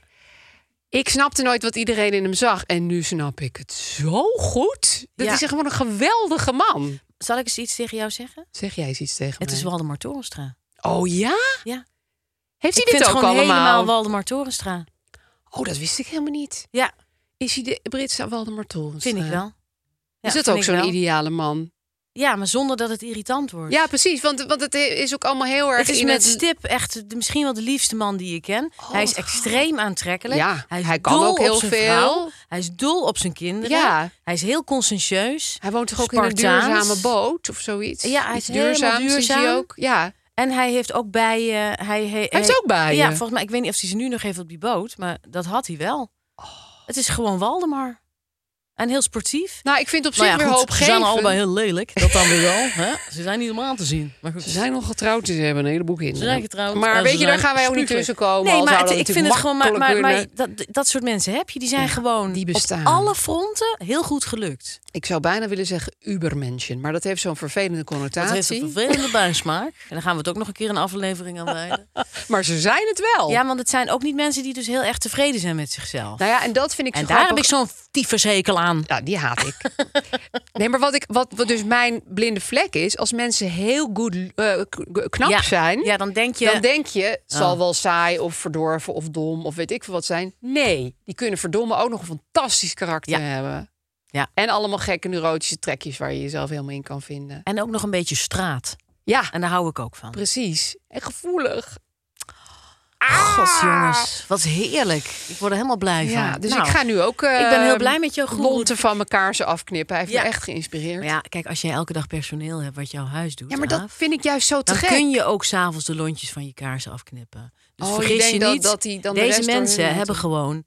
Speaker 3: ik snapte nooit wat iedereen in hem zag. En nu snap ik het zo goed. Dat
Speaker 4: Ja.
Speaker 3: is echt gewoon een geweldige man.
Speaker 4: Zal ik eens iets tegen jou zeggen?
Speaker 3: Zeg jij eens iets tegen
Speaker 4: Het
Speaker 3: mij?
Speaker 4: is Waldemar Torenstra.
Speaker 3: Oh ja?
Speaker 4: Ja.
Speaker 3: Heeft hij
Speaker 4: ik
Speaker 3: dit
Speaker 4: vind
Speaker 3: ook
Speaker 4: het gewoon helemaal
Speaker 3: allemaal?
Speaker 4: Waldemar Torenstra.
Speaker 3: Oh, dat wist ik helemaal niet.
Speaker 4: Ja,
Speaker 3: Is hij de Britse Waldemar Torenstra?
Speaker 4: vind ik wel. Ja,
Speaker 3: is dat
Speaker 4: vind
Speaker 3: ook
Speaker 4: ik
Speaker 3: zo'n
Speaker 4: wel.
Speaker 3: ideale man?
Speaker 4: Ja, maar zonder dat het irritant wordt.
Speaker 3: Ja, precies. Want, want het is ook allemaal heel erg...
Speaker 4: Het is
Speaker 3: in Oh.
Speaker 4: met stip echt de- misschien wel de liefste man die ik ken. hij is extreem aantrekkelijk.
Speaker 3: Ja,
Speaker 4: hij, is
Speaker 3: hij kan
Speaker 4: dol
Speaker 3: ook heel
Speaker 4: op zijn
Speaker 3: veel.
Speaker 4: vrouw. Hij is dol op zijn kinderen.
Speaker 3: Ja.
Speaker 4: Hij is heel conscientieus.
Speaker 3: Hij woont toch ook in een
Speaker 4: Spartaans.
Speaker 3: duurzame boot of zoiets?
Speaker 4: Ja, hij is
Speaker 3: Iets
Speaker 4: helemaal
Speaker 3: duurzaams is hij
Speaker 4: duurzaam.
Speaker 3: ook. Ja.
Speaker 4: En hij heeft ook bijen. Hij, he- he-
Speaker 3: heeft ook bijen?
Speaker 4: Ja, volgens mij. Ik weet
Speaker 3: Oh.
Speaker 4: niet of hij ze nu nog heeft op die boot, maar dat had hij wel. Het is gewoon Waldemar. En heel sportief.
Speaker 3: Nou, ik vind op zich
Speaker 4: Nou ja,
Speaker 3: weer
Speaker 4: goed, Ze zijn
Speaker 3: hoopgevend.
Speaker 4: allebei heel lelijk. Dat dan weer wel. Hè? Ze zijn niet normaal te zien. Maar goed.
Speaker 3: Ze zijn nog getrouwd, dus ze hebben een heleboel kinderen.
Speaker 4: Ze zijn getrouwd,
Speaker 3: Maar
Speaker 4: eh,
Speaker 3: weet
Speaker 4: ze
Speaker 3: je, daar
Speaker 4: zijn
Speaker 3: gaan wij ook niet
Speaker 4: spuuglijk.
Speaker 3: tussen komen. al
Speaker 4: Nee, maar
Speaker 3: zou
Speaker 4: het-
Speaker 3: dat
Speaker 4: ik vind het
Speaker 3: natuurlijk
Speaker 4: gewoon. Maar, maar,
Speaker 3: makkelijk
Speaker 4: maar
Speaker 3: kunnen.
Speaker 4: dat, dat soort mensen heb je. Die zijn gewoon
Speaker 3: die bestaan.
Speaker 4: op alle fronten heel goed gelukt.
Speaker 3: Ik zou bijna willen zeggen ubermenschen. Maar dat heeft zo'n vervelende
Speaker 4: Dat heeft
Speaker 3: connotatie.
Speaker 4: een vervelende bijsmaak. En daar gaan we het ook nog een keer een aflevering aan wijden.
Speaker 3: maar ze zijn het wel.
Speaker 4: Ja, want het zijn ook niet mensen die dus heel erg tevreden zijn met zichzelf.
Speaker 3: Nou ja, en dat vind ik
Speaker 4: en
Speaker 3: zo
Speaker 4: daar heb
Speaker 3: grappig.
Speaker 4: ik Nou, zo'n tyfushekel aan.
Speaker 3: Ja, die haat ik. nee, maar wat, ik, wat, wat dus mijn blinde vlek is... als mensen heel goed eh, k- knap
Speaker 4: ja.
Speaker 3: zijn...
Speaker 4: Ja, Oh. dan denk je.
Speaker 3: Dan denk je, het zal wel saai of verdorven of dom of weet ik veel wat zijn. Nee, die kunnen verdommen ook nog een fantastisch karakter
Speaker 4: Ja.
Speaker 3: hebben.
Speaker 4: Ja.
Speaker 3: En allemaal gekke neurotische trekjes waar je jezelf helemaal in kan vinden.
Speaker 4: En ook nog een beetje straat.
Speaker 3: Ja,
Speaker 4: En daar hou ik ook van.
Speaker 3: precies. En gevoelig.
Speaker 4: God, jongens. Ah! Wat heerlijk. Ik word er helemaal blij
Speaker 3: Ja,
Speaker 4: van.
Speaker 3: dus
Speaker 4: Nou,
Speaker 3: ik ga nu ook... eh,
Speaker 4: ik ben heel blij met jouw goeroe.
Speaker 3: Lonten van elkaar ze afknippen. Hij heeft
Speaker 4: Ja.
Speaker 3: me echt geïnspireerd.
Speaker 4: Maar ja, kijk, als jij elke dag personeel hebt wat jouw huis doet.
Speaker 3: Ja, maar dat
Speaker 4: Aaf,
Speaker 3: vind ik juist zo te
Speaker 4: dan
Speaker 3: gek.
Speaker 4: kun je ook s'avonds de lontjes van je kaarsen afknippen. Dus
Speaker 3: Oh, je
Speaker 4: vergis je,
Speaker 3: denkt dat-
Speaker 4: niet,
Speaker 3: dat die dan de
Speaker 4: deze
Speaker 3: rest door hun
Speaker 4: mensen
Speaker 3: laten.
Speaker 4: hebben gewoon...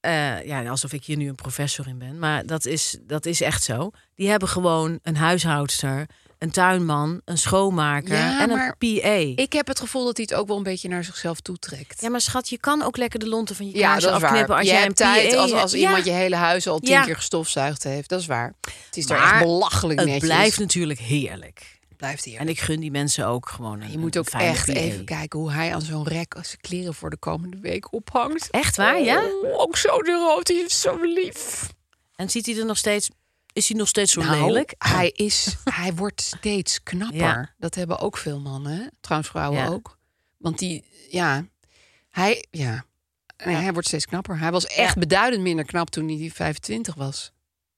Speaker 4: eh, ja, alsof ik hier nu een professor in ben. Maar dat is, dat is echt zo. Die hebben gewoon een huishoudster, een tuinman, een schoonmaker
Speaker 3: Ja,
Speaker 4: en
Speaker 3: maar
Speaker 4: een PA.
Speaker 3: Ik heb het gevoel dat hij het ook wel een beetje naar zichzelf toetrekt.
Speaker 4: Ja, maar schat, je kan ook lekker de lonten van je
Speaker 3: Ja,
Speaker 4: kaarsen
Speaker 3: dat is
Speaker 4: afknippen
Speaker 3: waar.
Speaker 4: als
Speaker 3: je
Speaker 4: jij
Speaker 3: hebt
Speaker 4: een
Speaker 3: tijd
Speaker 4: PA
Speaker 3: als,
Speaker 4: hebt.
Speaker 3: als
Speaker 4: Ja.
Speaker 3: iemand je hele huis al tien
Speaker 4: Ja.
Speaker 3: keer gestofzuigd heeft. Dat is waar. Het is
Speaker 4: Maar
Speaker 3: daar echt belachelijk
Speaker 4: Het
Speaker 3: netjes.
Speaker 4: blijft natuurlijk heerlijk.
Speaker 3: Het blijft hier.
Speaker 4: En ik gun die mensen ook gewoon een
Speaker 3: je moet
Speaker 4: een
Speaker 3: ook
Speaker 4: fijne E.
Speaker 3: echt
Speaker 4: PA.
Speaker 3: even kijken hoe hij aan zo'n rek als zijn kleren voor de komende week ophangt.
Speaker 4: Echt waar, ja?
Speaker 3: Oh, ook zo neurotisch, het is zo lief.
Speaker 4: En ziet hij er nog steeds... Is hij nog steeds zo
Speaker 3: Nou,
Speaker 4: lelijk?
Speaker 3: Hij, is, hij wordt steeds knapper.
Speaker 4: Ja.
Speaker 3: Dat hebben ook veel mannen. hè? Trouwens, vrouwen
Speaker 4: Ja.
Speaker 3: ook. Want die, ja, hij, ja. Nee, Hij wordt steeds knapper. Hij was echt
Speaker 4: Ja.
Speaker 3: beduidend minder knap toen hij 25 was.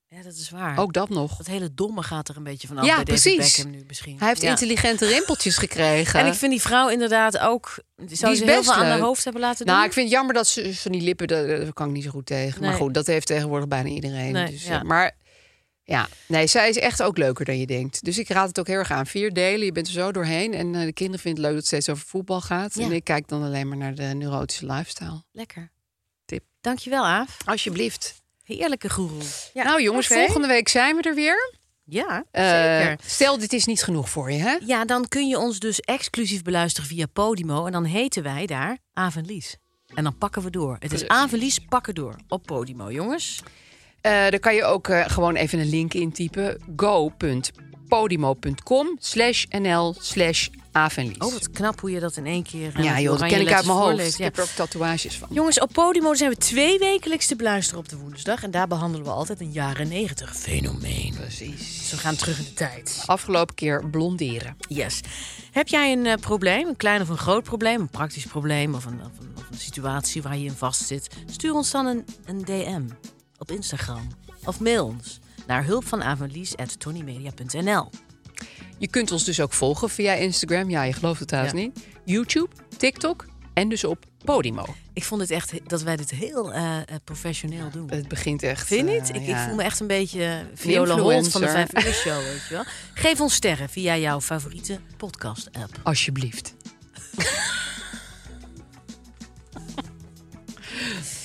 Speaker 4: Ja, dat is waar.
Speaker 3: Ook dat nog.
Speaker 4: Dat hele domme gaat er een beetje vanaf
Speaker 3: Ja,
Speaker 4: bij David
Speaker 3: precies.
Speaker 4: Beckham nu misschien.
Speaker 3: Hij heeft
Speaker 4: Ja.
Speaker 3: intelligente rimpeltjes gekregen.
Speaker 4: En ik vind die vrouw inderdaad ook... Zou
Speaker 3: is
Speaker 4: ze heel
Speaker 3: best
Speaker 4: veel aan haar
Speaker 3: leuk.
Speaker 4: hoofd hebben laten doen?
Speaker 3: nou, ik vind het jammer dat ze van die lippen, daar, daar kan ik niet zo goed tegen. Maar
Speaker 4: Nee.
Speaker 3: goed, dat heeft tegenwoordig bijna iedereen.
Speaker 4: Nee,
Speaker 3: dus,
Speaker 4: ja.
Speaker 3: eh, Maar ja, nee, zij is echt ook leuker dan je denkt. Dus ik raad het ook heel erg aan. Vier delen, je bent er zo doorheen. En eh, de kinderen vinden het leuk dat het steeds over voetbal gaat.
Speaker 4: Ja.
Speaker 3: En ik kijk dan alleen maar naar de neurotische lifestyle.
Speaker 4: Lekker.
Speaker 3: Tip.
Speaker 4: Dankjewel, Aaf.
Speaker 3: Alsjeblieft.
Speaker 4: Heerlijke goeroe. Ja,
Speaker 3: nou jongens,
Speaker 4: oké.
Speaker 3: volgende week zijn we er weer.
Speaker 4: Ja,
Speaker 3: Eh,
Speaker 4: zeker.
Speaker 3: stel, dit is niet genoeg voor je, hè?
Speaker 4: Ja, dan kun je ons dus exclusief beluisteren via Podimo. En dan heten wij daar Aaf en Lies. En dan pakken we door. Het is Aaf en Lies pakken door op Podimo, jongens.
Speaker 3: Eh dan kan je ook eh, gewoon even een link intypen. go.podimo.com slash nl slash avenlies.
Speaker 4: Oh, wat knap hoe je dat in één keer... eh,
Speaker 3: ja
Speaker 4: met
Speaker 3: joh, dat
Speaker 4: oranje
Speaker 3: ken ik uit
Speaker 4: letters
Speaker 3: mijn hoofd.
Speaker 4: voorleest.
Speaker 3: Ik
Speaker 4: Ja.
Speaker 3: heb er ook tatoeages van.
Speaker 4: Jongens, op Podimo zijn we twee wekelijks te beluisteren op de woensdag. En daar behandelen we altijd een jaren negentig fenomeen.
Speaker 3: Precies.
Speaker 4: Dus we gaan terug in de tijd.
Speaker 3: Afgelopen keer blonderen.
Speaker 4: Yes. Heb jij een eh, probleem, een klein of een groot probleem, een praktisch probleem of een, of een, of een situatie waar je in vast zit? Stuur ons dan een, een DM op Instagram of mail ons naar hulpvanavonlies.tonymedia.nl.
Speaker 3: Je kunt ons dus ook volgen via Instagram. Ja, je gelooft het haast
Speaker 4: Ja.
Speaker 3: niet. YouTube, TikTok en dus op Podimo.
Speaker 4: Ik vond het echt he- dat wij dit heel eh, eh, professioneel doen.
Speaker 3: Het begint echt...
Speaker 4: Vind je
Speaker 3: eh,
Speaker 4: niet? Ik, ik
Speaker 3: ja.
Speaker 4: voel me echt een beetje eh, Viola Holt van de
Speaker 3: influencer.
Speaker 4: Vijf Uur Show, weet je wel. Geef ons sterren via jouw favoriete podcast-app.
Speaker 3: Alsjeblieft.